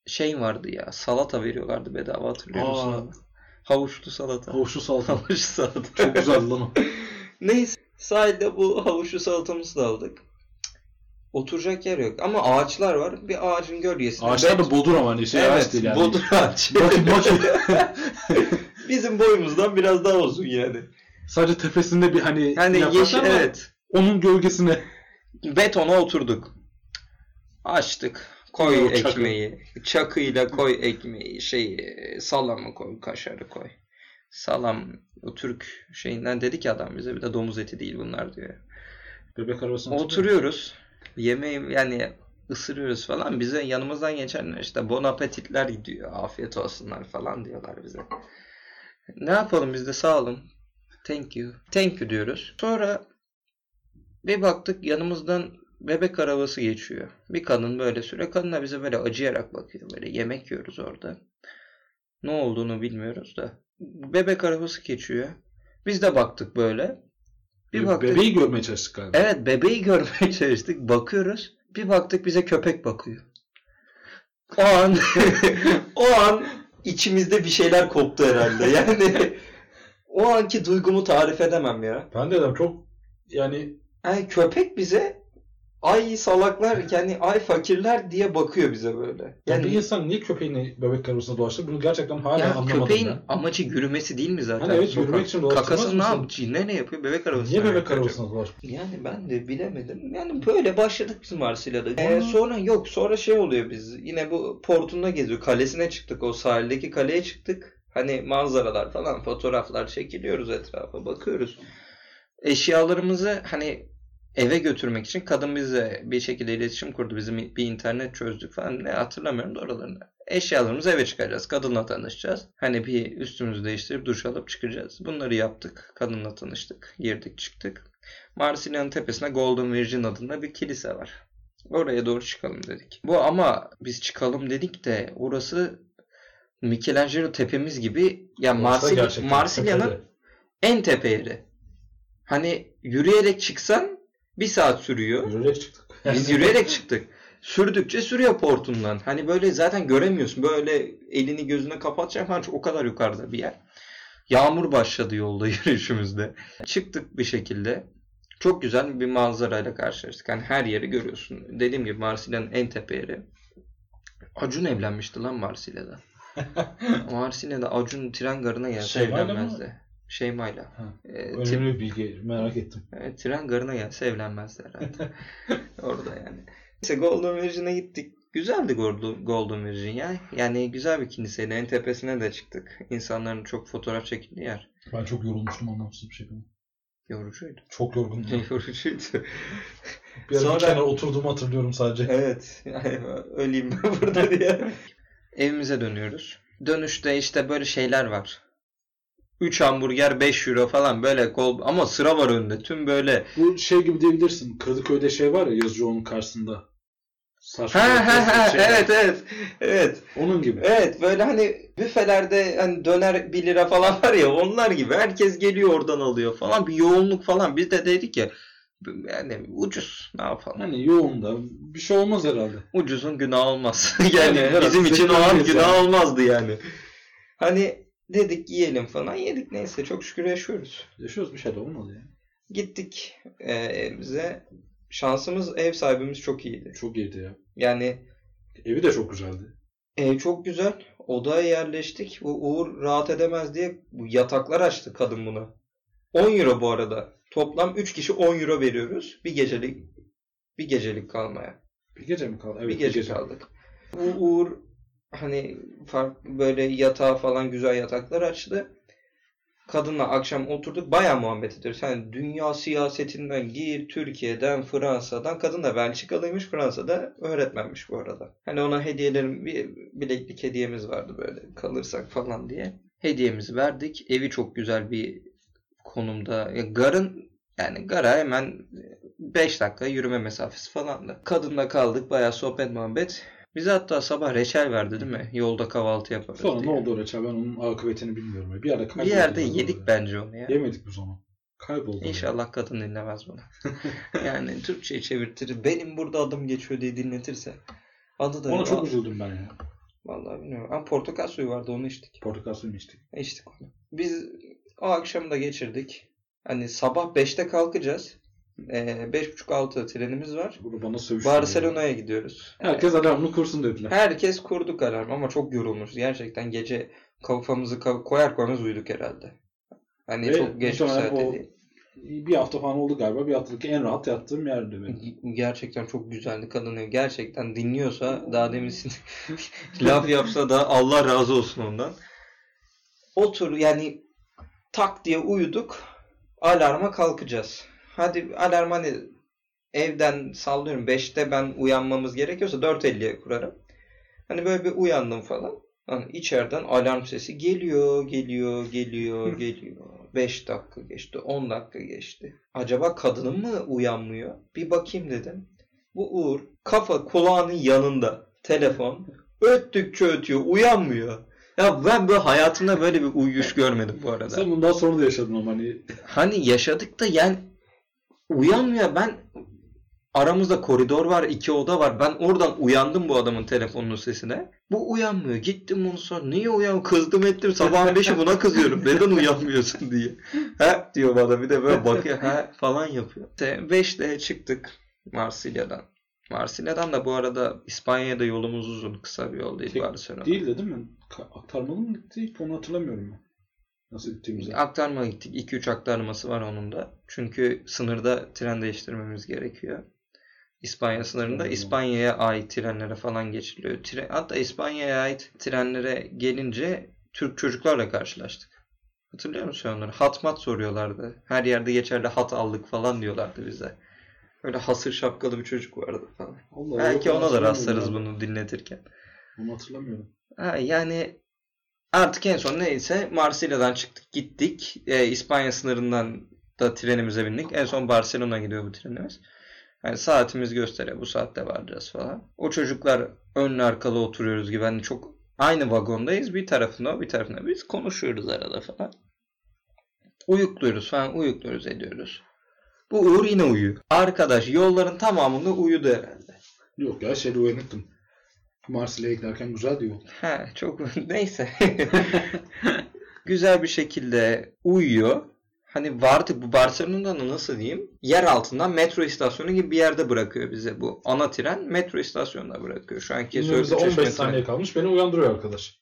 S1: şey vardı ya. Salata veriyorlardı bedava hatırlıyor musun?
S2: Aa.
S1: abi? Havuçlu salata.
S2: Havuçlu salata.
S1: Havuçlu salata.
S2: Çok güzel lan o.
S1: Neyse sahilde bu havuçlu salatamızı da aldık. Oturacak yer yok ama ağaçlar var. Bir ağacın gölgesinde.
S2: Ağaçlar
S1: bet-
S2: da bodur ama hani şey ağaç değil yani.
S1: bodur ağaç.
S2: Bakın bakın.
S1: Bizim boyumuzdan biraz daha uzun yani.
S2: Sadece tepesinde bir hani,
S1: Yani
S2: yaprak
S1: yeşil
S2: ama
S1: evet.
S2: onun gölgesine
S1: Betona oturduk. Açtık. Koy
S2: Yok, çakı.
S1: ekmeği. Çakıyla koy ekmeği. Şeyi, salamı koy, kaşarı koy. Salam o Türk şeyinden dedi ki adam bize bir de domuz eti değil bunlar diyor.
S2: bebek arabasına
S1: Oturuyoruz. Yemeği yani ısırıyoruz falan. Bize yanımızdan geçenler işte bon appetitler gidiyor. Afiyet olsunlar falan diyorlar bize. Ne yapalım biz de sağ olun. Thank you. Thank you diyoruz. Sonra bir baktık yanımızdan bebek arabası geçiyor. Bir kadın böyle süre kadına bize böyle acıyarak bakıyor. Böyle yemek yiyoruz orada. Ne olduğunu bilmiyoruz da. Bebek arabası geçiyor. Biz de baktık böyle.
S2: Bir
S1: Bir baktık.
S2: Bebeği görmeye çalıştık galiba.
S1: Evet bebeği görmeye çalıştık. Bakıyoruz. Bir baktık bize köpek bakıyor. O an o an içimizde bir şeyler koptu herhalde. Yani o anki duygumu tarif edemem ya.
S2: Ben de dedim çok yani
S1: Yani köpek bize ay salaklar yani ay fakirler diye bakıyor bize böyle.
S2: yani bir
S1: Yani
S2: insan niye köpeğini bebek arabasına dolaştı? Bunu gerçekten hala
S1: ya
S2: anlamadım
S1: köpeğin
S2: ben.
S1: amacı yürümesi değil mi zaten?
S2: Hani evet,
S1: Sokak-
S2: yürümek için dolaştırmaz
S1: Kakasını ne
S2: mısın?
S1: yapıyor? Ne ne yapıyor? Bebek arabasına.
S2: Niye bebek
S1: yapıyor acaba?
S2: arabasına dolaştı?
S1: Yani ben de bilemedim. Yani böyle başladık biz Marsilya'da. Ee,
S2: Aa.
S1: sonra yok sonra şey oluyor biz. Yine bu portunda geziyor. Kalesine çıktık. O sahildeki kaleye çıktık. Hani manzaralar falan fotoğraflar çekiliyoruz etrafa bakıyoruz. Eşyalarımızı hani eve götürmek için kadın bize bir şekilde iletişim kurdu. Bizim bir internet çözdük falan. Ne hatırlamıyorum da oralarını. Eşyalarımızı eve çıkaracağız. Kadınla tanışacağız. Hani bir üstümüzü değiştirip duş alıp çıkacağız. Bunları yaptık. Kadınla tanıştık. Girdik çıktık. Marsilya'nın tepesinde Golden Virgin adında bir kilise var. Oraya doğru çıkalım dedik. Bu ama biz çıkalım dedik de orası Michelangelo tepemiz gibi ya
S3: Varsa
S1: Marsilya,
S3: gerçekten
S1: Marsilya'nın
S3: tepede.
S1: en tepe yeri. Hani yürüyerek çıksan bir saat sürüyor.
S2: Yürüyerek çıktık.
S1: Biz yürüyerek çıktık. Sürdükçe sürüyor portundan. Hani böyle zaten göremiyorsun. Böyle elini gözüne kapatacaksın falan. Çok- O kadar yukarıda bir yer. Yağmur başladı yolda yürüyüşümüzde. Çıktık bir şekilde. Çok güzel bir manzarayla karşılaştık. Hani her yeri görüyorsun. Dediğim gibi Marsilya'nın en tepe yeri. Acun evlenmişti lan Marsilya'da. Marsilya'da Acun tren garına gelse
S2: Şeyma'yla mı?
S1: evlenmezdi. Şeyma'yla.
S2: Ha,
S1: Ee, tip-
S2: Önemli bir bilgi merak ettim.
S1: Evet, tren garına gelse evlenmezdi herhalde. Orada yani. Neyse Golden Virgin'e gittik. Güzeldi Golden Golden Virgin ya. Yani güzel bir kiliseydi. En tepesine de çıktık. İnsanların çok fotoğraf çekildiği yer.
S2: Ben çok yorulmuştum anlamsız bir şekilde.
S1: Yorucuydu.
S2: Çok yorgundum.
S1: Yorucuydu.
S2: Bir ara
S1: Sonra-
S2: bir kenara oturduğumu hatırlıyorum sadece.
S1: evet. Yani öleyim ben burada diye. Evimize dönüyoruz. Dönüşte işte böyle şeyler var. 3 hamburger 5 euro falan böyle kol ama sıra var önünde. Tüm böyle
S2: Bu şey gibi diyebilirsin. Kadıköy'de şey var ya yazıcı onun karşısında. Saçma
S1: ha
S2: sapan
S1: ha ha
S2: şey var.
S1: evet evet evet
S2: Onun gibi.
S1: Evet böyle hani büfelerde hani döner 1 lira falan var ya onlar gibi herkes geliyor oradan alıyor falan bir yoğunluk falan biz de dedik ya yani ucuz ne yapalım
S2: Hani yoğunda bir şey olmaz herhalde.
S1: ucuzun günah olmaz yani
S2: Yani herhalde
S1: bizim için o an
S2: zevklenmeyiz
S1: günah
S2: yani.
S1: olmazdı yani hani dedik yiyelim falan yedik neyse çok şükür yaşıyoruz
S2: Yaşıyoruz bir şey de olmaz ya.
S1: gittik e, evimize şansımız ev sahibimiz çok iyiydi
S2: Çok iyiydi ya.
S1: yani
S2: Evi de çok güzeldi.
S1: Ev E, çok güzel. Odaya yerleştik. Bu Uğur rahat edemez diye bu yataklar açtı kadın buna. 10 euro bu arada. Toplam 3 kişi 10 euro veriyoruz. Bir gecelik bir gecelik kalmaya.
S2: Bir gece mi kaldı? Evet,
S1: bir gece, kaldık. Bu Uğur hani farklı böyle yatağı falan güzel yataklar açtı. Kadınla akşam oturduk bayağı muhabbet ediyoruz. Hani dünya siyasetinden gir, Türkiye'den, Fransa'dan. Kadın da Belçikalıymış, Fransa'da öğretmenmiş bu arada. Hani ona hediyelerim, bir bileklik hediyemiz vardı böyle kalırsak falan diye. Hediyemizi verdik. Evi çok güzel bir konumda. Ya garın yani gara hemen 5 dakika yürüme mesafesi falandı. Kadınla kaldık bayağı sohbet muhabbet. Bize hatta sabah reçel verdi değil mi? Yolda kahvaltı yaparız
S2: Sonra ne
S1: diye.
S2: oldu Reçel? Ben onun akıbetini bilmiyorum. ya. Bir yerde
S1: Bir
S2: kayboldu.
S1: yerde
S2: galiba
S1: yedik
S2: ya.
S1: bence onu ya.
S2: Yemedik bu zaman. Kayboldu.
S1: İnşallah kadın dinlemez bunu. yani Türkçe'ye çevirtir. Benim burada adım geçiyor diye dinletirse. Adı da
S2: Ona
S1: yok.
S2: çok üzüldüm ben ya.
S1: Vallahi bilmiyorum. Ama portakal suyu vardı onu içtik.
S2: Portakal suyu mu içtik?
S1: İçtik onu. Biz o akşamı da geçirdik. Hani sabah 5'te kalkacağız. Ee, 5.30-6 trenimiz var.
S2: Bu bana sövüştü.
S1: Barcelona'ya gidiyoruz.
S2: Herkes adamını kursun dediler.
S1: Herkes kurdu karar ama çok yorulmuş. Gerçekten gece kafamızı ka- koyar koymaz uyuduk herhalde. Hani
S2: Ve
S1: çok geç bir
S2: muhtemelen
S1: saatte
S2: o-
S1: değil.
S2: Bir hafta falan oldu galiba. Bir haftalık en rahat yattığım yerdi benim.
S1: Gerçekten çok güzeldi kadın evi. Gerçekten dinliyorsa daha demin laf yapsa da Allah razı olsun ondan. Otur yani tak diye uyuduk. Alarma kalkacağız. Hadi alarm hani evden sallıyorum 5'te ben uyanmamız gerekiyorsa 4.50'ye kurarım. Hani böyle bir uyandım falan. Hani içeriden alarm sesi geliyor, geliyor, geliyor, geliyor. 5 dakika geçti, 10 dakika geçti. Acaba kadının mı uyanmıyor? Bir bakayım dedim. Bu Uğur kafa kulağının yanında telefon. Öttükçe ötüyor, uyanmıyor. Ya ben böyle hayatımda böyle bir uyuş görmedim bu arada.
S2: Sen bundan sonra da yaşadın ama hani
S1: Hani yaşadık da yani uyanmıyor. Ben aramızda koridor var, iki oda var. Ben oradan uyandım bu adamın telefonunun sesine. Bu uyanmıyor. Gittim onu sonra. Niye uyan? Kızdım ettim. Sabahın beşi buna kızıyorum. Neden uyanmıyorsun diye. He diyor bana. Bir de böyle bakıyor. He falan yapıyor. İşte beşte çıktık Marsilya'dan. Marsilya'dan da bu arada İspanya'da yolumuz uzun. Kısa bir yol değil.
S2: Tek-
S1: Barcelona.
S2: Değildi değil mi? Ka- aktarmalı mı gittik? Onu hatırlamıyorum ben. Nasıl gittiğimizi.
S1: Aktarma gittik. 2-3 aktarması var onun da. Çünkü sınırda tren değiştirmemiz gerekiyor. İspanya sınırında
S2: Hmm.
S1: İspanya'ya ait trenlere falan geçiliyor. Tren, hatta İspanya'ya ait trenlere gelince Türk çocuklarla karşılaştık. Hatırlıyor musun onları? Hat mat soruyorlardı. Her yerde geçerli hat aldık falan diyorlardı bize. Böyle hasır şapkalı bir çocuk vardı falan.
S2: Allah,
S1: Belki
S2: yok,
S1: ona da
S2: hatırlamıyorum
S1: rastlarız
S2: ben.
S1: bunu dinletirken.
S2: Onu hatırlamıyorum.
S1: Ha, yani artık en son neyse Marsilya'dan çıktık gittik. Ee, İspanya E, sınırından da trenimize bindik. En son Barcelona gidiyor bu trenimiz. Yani saatimiz gösteriyor. Bu saatte varacağız falan. O çocuklar ön arkalı oturuyoruz gibi. Hani çok aynı vagondayız. Bir tarafında o bir tarafında biz konuşuyoruz arada falan. Uyukluyoruz falan. Uyukluyoruz ediyoruz. Bu Uğur yine uyuyor. Arkadaş yolların tamamında uyudu herhalde.
S2: Yok ya şeyde uyanıktım. Marsilya'ya giderken güzel diyor.
S1: Ha çok neyse. Güzel bir şekilde uyuyor. Hani vardı bu Barcelona'da nasıl diyeyim? Yer altından metro istasyonu gibi bir yerde bırakıyor bize bu. Ana tren metro istasyonuna bırakıyor. Şu anki
S2: Bize
S1: Söğütlü
S2: 15
S1: Çeşme
S2: saniye
S1: treni.
S2: kalmış beni uyandırıyor arkadaş.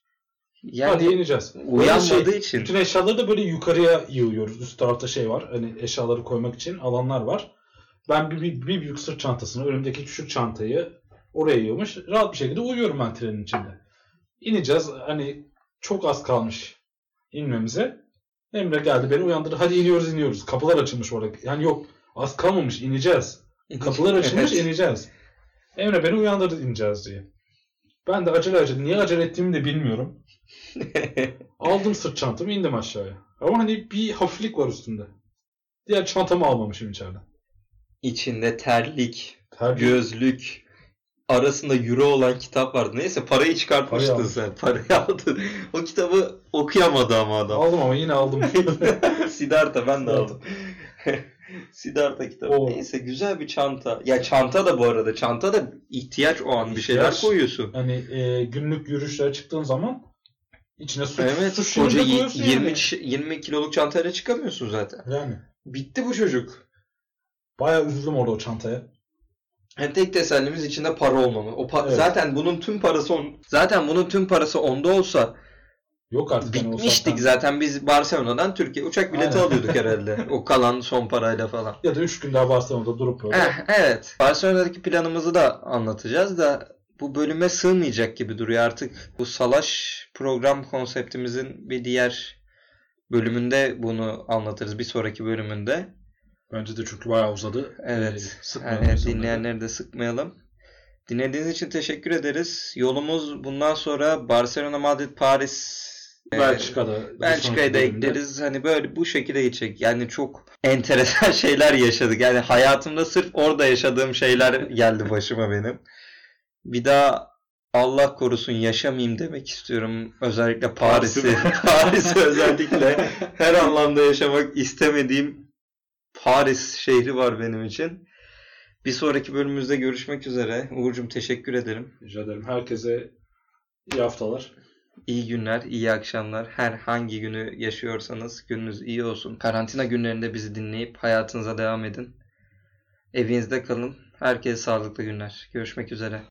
S2: Hadi şey,
S1: Yani
S2: ineceğiz.
S1: uyanmadığı
S2: Böyle
S1: için.
S2: Bütün eşyaları da böyle yukarıya yığıyoruz. Üst tarafta şey var. Hani eşyaları koymak için alanlar var. Ben bir, bir, bir büyük sırt çantasını, önümdeki küçük çantayı oraya yığmış. Rahat bir şekilde uyuyorum ben trenin içinde. İneceğiz. Hani çok az kalmış inmemize. Emre geldi beni uyandırdı. Hadi iniyoruz iniyoruz. Kapılar açılmış orada. Yani yok az kalmamış ineceğiz. Kapılar açılmış
S1: Evet.
S2: ineceğiz. Emre beni uyandırdı ineceğiz diye. Ben de acele acele niye acele ettiğimi de bilmiyorum. Aldım sırt çantamı indim aşağıya. Ama hani bir hafiflik var üstünde. Diğer çantamı almamışım içeride.
S1: İçinde terlik,
S2: Tercih.
S1: gözlük, arasında euro olan kitap vardı. Neyse parayı çıkartmıştın
S2: Parayı aldım.
S1: sen. Parayı aldın. O kitabı okuyamadı ama adam.
S2: Aldım ama yine aldım.
S1: Siddhartha ben de aldım. Siddhartha kitabı.
S2: Oo.
S1: Neyse güzel bir çanta. Ya çanta da bu arada. Çanta da ihtiyaç o an. Bir şeyler
S2: İhtiyaç.
S1: koyuyorsun.
S2: hani e, günlük yürüyüşlere çıktığın zaman içine su, su
S1: Evet.
S2: şişini
S1: Koca
S2: de
S1: y-
S2: koyuyorsun
S1: 20,
S2: yani.
S1: ç- 20 kiloluk çantayla çıkamıyorsun zaten.
S2: yani.
S1: Bitti bu çocuk.
S2: Bayağı üzüldüm orada o çantaya.
S1: Yani tek tesellimiz içinde para olmamı. O pa-
S2: Evet.
S1: zaten bunun tüm parası on- zaten bunun tüm parası onda olsa
S2: Yok artık. hani o
S1: bitmiştik
S2: saatten-
S1: zaten biz Barcelona'dan Türkiye uçak bileti
S2: Aynen.
S1: alıyorduk herhalde. O kalan son parayla falan.
S2: Ya da 3 gün daha Barcelona'da durup böyle.
S1: Eh, evet. Barcelona'daki planımızı da anlatacağız da bu bölüme sığmayacak gibi duruyor artık. Bu salaş program konseptimizin bir diğer bölümünde bunu anlatırız. Bir sonraki bölümünde.
S2: Bence de çünkü bayağı uzadı.
S1: Evet.
S2: Ee, sıkmayalım
S1: Yani
S2: insanları.
S1: Eh, dinleyenleri de sıkmayalım. Dinlediğiniz için teşekkür ederiz. Yolumuz bundan sonra Barcelona, Madrid, Paris e,
S2: Belçika'da.
S1: Belçika'yı da ekleriz. Hani böyle bu şekilde gidecek. Yani çok enteresan şeyler yaşadık. Yani hayatımda sırf orada yaşadığım şeyler geldi başıma benim. Bir daha Allah korusun yaşamayayım demek istiyorum. Özellikle Paris'i. Paris'i özellikle her anlamda yaşamak istemediğim Paris şehri var benim için. Bir sonraki bölümümüzde görüşmek üzere. Uğur'cum teşekkür ederim.
S2: Rica ederim. Herkese iyi haftalar.
S1: İyi günler, iyi akşamlar. Herhangi günü yaşıyorsanız gününüz iyi olsun. Karantina günlerinde bizi dinleyip hayatınıza devam edin. Evinizde kalın. Herkese sağlıklı günler. Görüşmek üzere.